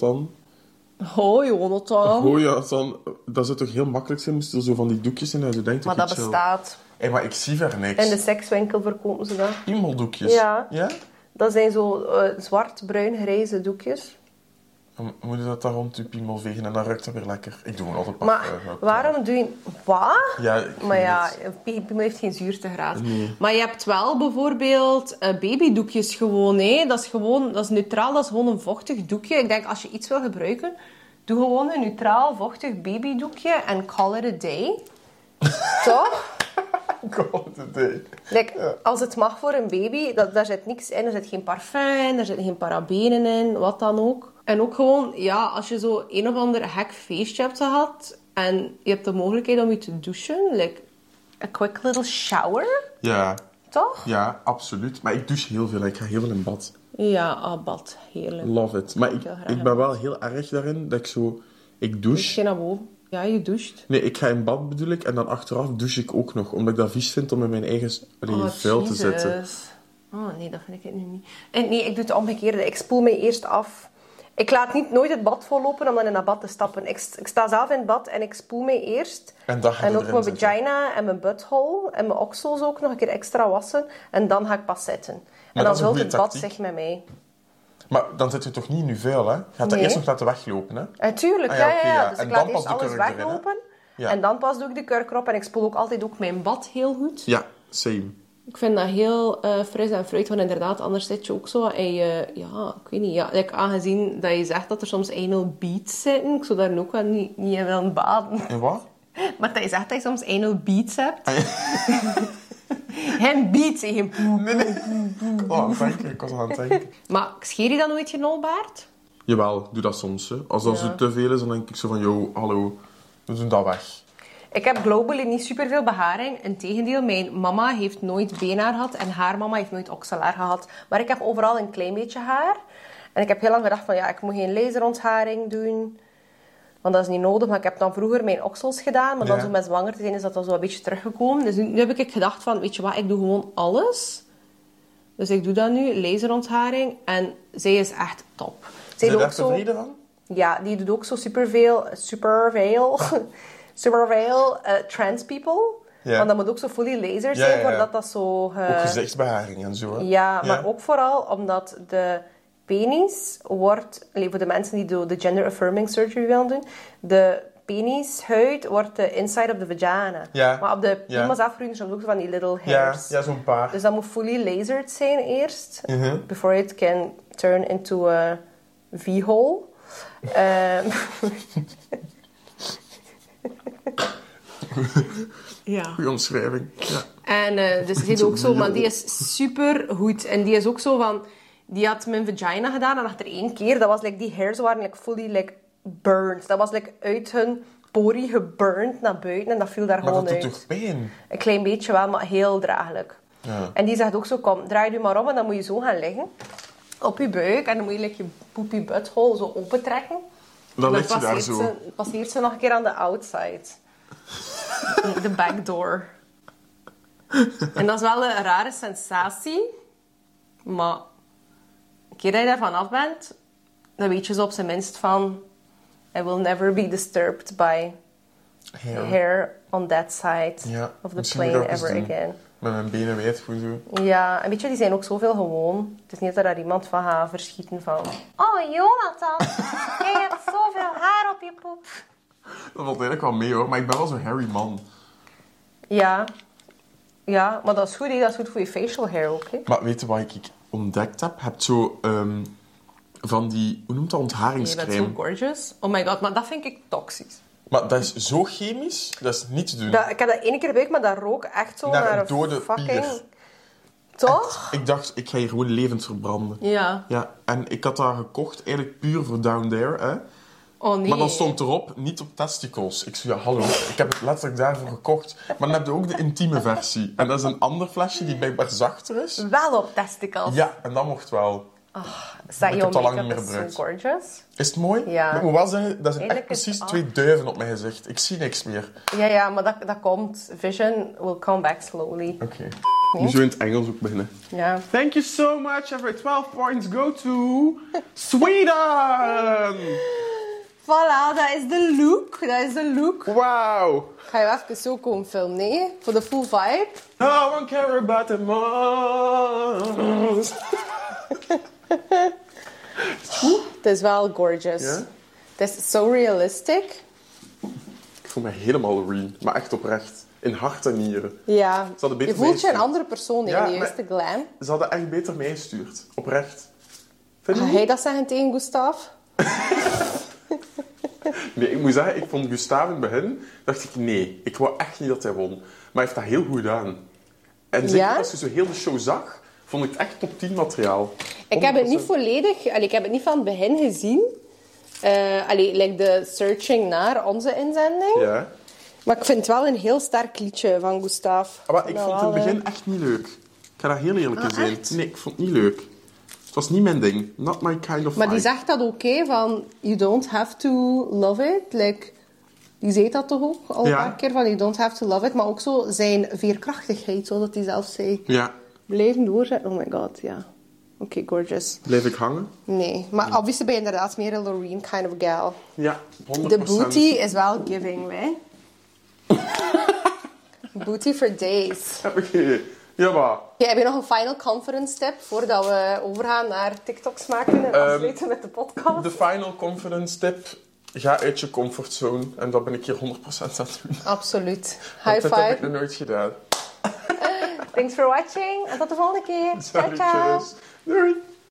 Speaker 2: Oh, Jonathan.
Speaker 1: Oh ja, dan, dat zou toch heel makkelijk zijn, moesten er zo van die doekjes in en zo denkt
Speaker 2: maar dat bestaat.
Speaker 1: Hé, maar ik zie ver niks.
Speaker 2: In de sekswinkel verkopen ze dat.
Speaker 1: Piemeldoekjes.
Speaker 2: Ja.
Speaker 1: Ja?
Speaker 2: Dat zijn zo eh, zwart, bruin, grijze doekjes.
Speaker 1: Dan moet je dat daar rond je piemel vegen en dan ruikt dat weer lekker. Ik doe gewoon altijd
Speaker 2: Maar
Speaker 1: parfum, ook.
Speaker 2: waarom doe je... Wat?
Speaker 1: eh, Ja, ik weet
Speaker 2: maar ja,
Speaker 1: het.
Speaker 2: een pi- piemel heeft geen zuurtegraad.
Speaker 1: Nee.
Speaker 2: Maar je hebt wel bijvoorbeeld eh, babydoekjes gewoon. Hè. Dat is gewoon, dat is neutraal, dat is gewoon een vochtig doekje. Ik denk, als je iets wil gebruiken, doe gewoon een neutraal, vochtig babydoekje en call it a day. Toch?
Speaker 1: God, het ding.
Speaker 2: Like, Als het mag voor een baby, dat, daar zit niks in. Er zit geen parfum, er zitten geen parabenen in, wat dan ook. En ook gewoon, ja, als je zo een of ander hek feestje hebt gehad en je hebt de mogelijkheid om je te douchen, like a quick little shower,
Speaker 1: Ja,
Speaker 2: toch?
Speaker 1: ja, absoluut. Maar ik douche heel veel. en Ik ga heel veel in bad.
Speaker 2: Ja, abad, heerlijk.
Speaker 1: Love it. Maar ik,
Speaker 2: wil graag
Speaker 1: ik
Speaker 2: in
Speaker 1: ben wel heel erg daarin dat ik zo... Ik
Speaker 2: Dus
Speaker 1: douche.
Speaker 2: je naar boven. Ja, je doucht.
Speaker 1: Nee, ik ga in bad bedoel ik. En dan achteraf douche ik ook nog. Omdat ik dat vies vind om in mijn eigen s- allee, vuil te zitten.
Speaker 2: Oh, Jezus. Oh nee, dat vind ik nu niet. En nee, ik doe het omgekeerde. Ik spoel mij eerst af. Ik laat niet nooit het bad vollopen om dan in dat bad te stappen. Ik, st- ik sta zelf in het bad en ik spoel mij eerst.
Speaker 1: En dan ga je
Speaker 2: ook
Speaker 1: erin
Speaker 2: mijn
Speaker 1: zitten.
Speaker 2: vagina en mijn butthole en mijn oksels ook nog een keer extra wassen. En dan ga ik pas zitten.
Speaker 1: dat
Speaker 2: en dan
Speaker 1: is een
Speaker 2: vult
Speaker 1: goede
Speaker 2: het bad
Speaker 1: tactiek.
Speaker 2: zich met mij.
Speaker 1: Maar dan zit je toch niet in je vuil, hè? Je gaat dat
Speaker 2: Nee.
Speaker 1: eerst nog laten weglopen, hè?
Speaker 2: Natuurlijk,
Speaker 1: Ah, ja,
Speaker 2: Eh, ja, ja,
Speaker 1: oké,
Speaker 2: ja,
Speaker 1: ja.
Speaker 2: Dus
Speaker 1: En
Speaker 2: ik
Speaker 1: dan
Speaker 2: laat
Speaker 1: pas
Speaker 2: eerst
Speaker 1: de
Speaker 2: alles
Speaker 1: kurk erin, hè?
Speaker 2: weglopen.
Speaker 1: Ja.
Speaker 2: En dan pas doe ik de kurk erop. En ik spoel ook altijd ook mijn bad heel goed.
Speaker 1: Ja, same.
Speaker 2: Ik vind dat heel eh, fris en fruit, want inderdaad, anders zit je ook zo en je, ja, ik weet niet, ja, like, aangezien dat je zegt dat er soms anal beats zitten, ik zou daar ook wel niet, niet in willen baden.
Speaker 1: En wat?
Speaker 2: Maar dat je zegt dat je soms anal beats hebt.
Speaker 1: Ah, ja.
Speaker 2: Geen beats, hè, geen poep.
Speaker 1: Nee, nee. Oh, aan het denken. Ik was aan het denken.
Speaker 2: Maar scheer je dan nooit je nolbaard?
Speaker 1: Jawel, doe dat soms. Hè. Als dat
Speaker 2: Ja.
Speaker 1: zo te veel is, dan denk ik zo van... Yo, hallo, we doen dat weg.
Speaker 2: Ik heb globally niet superveel beharing. Integendeel, mijn mama heeft nooit beenhaar gehad en haar mama heeft nooit okselaar gehad. Maar ik heb overal een klein beetje haar. En ik heb heel lang gedacht van ja, ik moet geen laserontharing doen. Want dat is niet nodig. Maar ik heb dan vroeger mijn oksels gedaan. Maar dan
Speaker 1: Ja.
Speaker 2: zo met zwanger te zijn is dat dan zo een beetje teruggekomen. Dus nu, nu heb ik gedacht van, weet je wat, ik doe gewoon alles. Dus ik doe dat nu, laserontharing. En zij is echt top. Zij
Speaker 1: Zijn je
Speaker 2: doet
Speaker 1: daar
Speaker 2: ook zo...
Speaker 1: tevreden van?
Speaker 2: Ja, die doet ook zo superveel, superveel, superveel eh trans people.
Speaker 1: Ja.
Speaker 2: Want dat moet ook zo fully laser
Speaker 1: Ja,
Speaker 2: zijn,
Speaker 1: ja, ja.
Speaker 2: voordat dat zo... eh,
Speaker 1: Ook gezichtsbeharing en zo, hè.
Speaker 2: ja, maar ook vooral omdat de penis wordt... allee, voor de mensen die do- de gender affirming surgery willen doen, de penishuid wordt de inside of the vagina.
Speaker 1: Ja.
Speaker 2: Maar op de
Speaker 1: Ja.
Speaker 2: piemels afgroeien zijn ook zo van die little
Speaker 1: Ja,
Speaker 2: hairs.
Speaker 1: ja zo'n paar.
Speaker 2: Dus dat moet fully lasered zijn eerst,
Speaker 1: Mhm.
Speaker 2: before it can turn into a V-hole. Ehm, ja.
Speaker 1: Goeie omschrijving. Ja.
Speaker 2: En eh, dus die ook zo, maar die is super goed. En die is ook zo van, die had mijn vagina gedaan en achter één keer, dat was like, die hairs waren like, fully like, burned. Dat was like, uit hun pori geburnt naar buiten en dat viel daar
Speaker 1: Maar
Speaker 2: gewoon
Speaker 1: dat doet
Speaker 2: uit.
Speaker 1: toch pijn?
Speaker 2: Een klein beetje wel, maar heel draaglijk.
Speaker 1: Ja.
Speaker 2: En die zegt ook zo, kom, draai je maar om en dan moet je zo gaan liggen. Op je buik en dan moet je like, je poepie butthole zo opentrekken.
Speaker 1: Dan
Speaker 2: En
Speaker 1: ligt je daar
Speaker 2: passeert
Speaker 1: zo.
Speaker 2: Ze, passeert ze nog een keer aan de outside. De back door. En dat is wel een rare sensatie. Maar een keer dat je daarvan af bent, dan weet je zo op zijn minst van... I will never be disturbed by
Speaker 1: Ja.
Speaker 2: hair on that side
Speaker 1: Ja,
Speaker 2: of the
Speaker 1: misschien moet ik
Speaker 2: plane
Speaker 1: dat eens
Speaker 2: ever
Speaker 1: doen.
Speaker 2: again.
Speaker 1: Met mijn benen wijd, gewoon zo.
Speaker 2: Ja, en weet je, die zijn ook zoveel gewoon. Het is niet dat daar iemand van gaat verschieten van... Oh, Jonathan, jij hebt zoveel haar op je poep.
Speaker 1: Dat valt eigenlijk wel mee hoor, maar ik ben wel zo'n hairy man.
Speaker 2: Ja. Ja, maar dat is goed, hè. dat is goed voor je facial hair ook. Hè.
Speaker 1: Maar weet je wat ik ontdekt heb? Je hebt zo ehm, van die, hoe noemt dat,
Speaker 2: Je bent
Speaker 1: ontharingscrème.
Speaker 2: zo gorgeous. Oh my god, maar dat vind ik toxisch.
Speaker 1: Maar dat is zo chemisch, dat is niet te doen.
Speaker 2: Dat, ik heb dat één keer gebruikt, maar dat rook echt zo
Speaker 1: Naar
Speaker 2: naar,
Speaker 1: een
Speaker 2: een
Speaker 1: dode
Speaker 2: fucking...
Speaker 1: pier.
Speaker 2: Toch?
Speaker 1: Ik dacht, ik ga hier gewoon levend verbranden.
Speaker 2: Ja.
Speaker 1: Ja, en ik had daar gekocht, eigenlijk puur voor down there. Hè.
Speaker 2: Oh nee.
Speaker 1: Maar dan stond erop, niet op testicles. Ik zei, ja, hallo, ik heb het letterlijk daarvoor gekocht. Maar dan heb je ook de intieme versie. En dat is een ander flesje die blijkbaar zachter is.
Speaker 2: Wel op testicles.
Speaker 1: Ja, en dat mocht wel.
Speaker 2: Zeg,
Speaker 1: ik
Speaker 2: jouw
Speaker 1: heb dat lang
Speaker 2: make-up
Speaker 1: niet meer
Speaker 2: is
Speaker 1: gebruikt.
Speaker 2: zo gorgeous.
Speaker 1: Is het mooi?
Speaker 2: Ja.
Speaker 1: Maar Ik moet wel zeggen, dat zijn echt
Speaker 2: Eigenlijk is
Speaker 1: precies
Speaker 2: het
Speaker 1: twee duiven op mijn gezicht. Ik zie niks meer.
Speaker 2: Ja, ja, maar dat, dat komt. Vision will come back slowly.
Speaker 1: Oké. Nu zo in het Engels ook beginnen.
Speaker 2: Ja.
Speaker 1: Thank you so much. Every 12 points go to Sweden!
Speaker 2: Voilà, dat is de look. Dat is de look.
Speaker 1: Wow!
Speaker 2: Ga je even zo komen filmen, nee? Voor de full vibe.
Speaker 1: No one care about the most.
Speaker 2: Het is wel gorgeous.
Speaker 1: Ja?
Speaker 2: Het is so realistic.
Speaker 1: Ik voel me helemaal re, maar echt oprecht. In hart en nieren.
Speaker 2: Ja.
Speaker 1: Ze hadden
Speaker 2: Je
Speaker 1: beter
Speaker 2: voelt je een
Speaker 1: meegestuurd.
Speaker 2: andere persoon
Speaker 1: Ja,
Speaker 2: in de
Speaker 1: maar-
Speaker 2: juiste glam.
Speaker 1: Ze hadden echt beter meegestuurd. Oprecht. Vind je
Speaker 2: Ga
Speaker 1: niet?
Speaker 2: jij dat zeggen tegen Gustav?
Speaker 1: Nee, ik moet zeggen, ik vond Gustav in het begin, dacht ik nee, ik wou echt niet dat hij won. Maar hij heeft dat heel goed gedaan. En zeker
Speaker 2: Ja?
Speaker 1: als je zo heel de show zag, vond ik het echt top 10 materiaal.
Speaker 2: Ik heb het niet
Speaker 1: 100%.
Speaker 2: volledig... allee, ik heb het niet van het begin gezien. Eh allee, like de searching naar onze inzending.
Speaker 1: Ja.
Speaker 2: Maar ik vind het wel een heel sterk liedje van Gustav.
Speaker 1: Ah, Maar ik
Speaker 2: Dat
Speaker 1: vond het in
Speaker 2: Nou, wel,
Speaker 1: het begin echt niet leuk. Ik ga daar heel eerlijk in
Speaker 2: Ah,
Speaker 1: zijn.
Speaker 2: echt?
Speaker 1: Nee, ik vond het niet leuk. Het was niet mijn ding. Not my kind of
Speaker 2: Maar die
Speaker 1: vibe.
Speaker 2: zegt dat oké, van... You don't have to love it. Like, die zei dat toch ook al
Speaker 1: Ja.
Speaker 2: een paar keer, van you don't have to love it. Maar ook zo zijn veerkrachtigheid, zodat hij zelf zei.
Speaker 1: Ja,
Speaker 2: Blijven doorzetten, oh my god, ja. Oké, gorgeous.
Speaker 1: bleef ik hangen.
Speaker 2: Nee, maar obviously ben je inderdaad meer een Loreen kind of gal.
Speaker 1: Ja, 100%.
Speaker 2: De booty is wel giving, hè? booty for days.
Speaker 1: Oké, ja maar.
Speaker 2: Ja, heb je nog een final conference tip voordat we overgaan naar TikToks maken en
Speaker 1: Ehm,
Speaker 2: afsluiten met de podcast?
Speaker 1: De final confidence tip. Ga uit je comfortzone. En dat ben ik hier 100% aan het doen.
Speaker 2: Absoluut.
Speaker 1: Want
Speaker 2: High
Speaker 1: Dat heb ik
Speaker 2: five.
Speaker 1: nog nooit gedaan.
Speaker 2: Thanks for watching en tot de volgende keer. Ciao, ciao.
Speaker 1: Salutjes. Doei.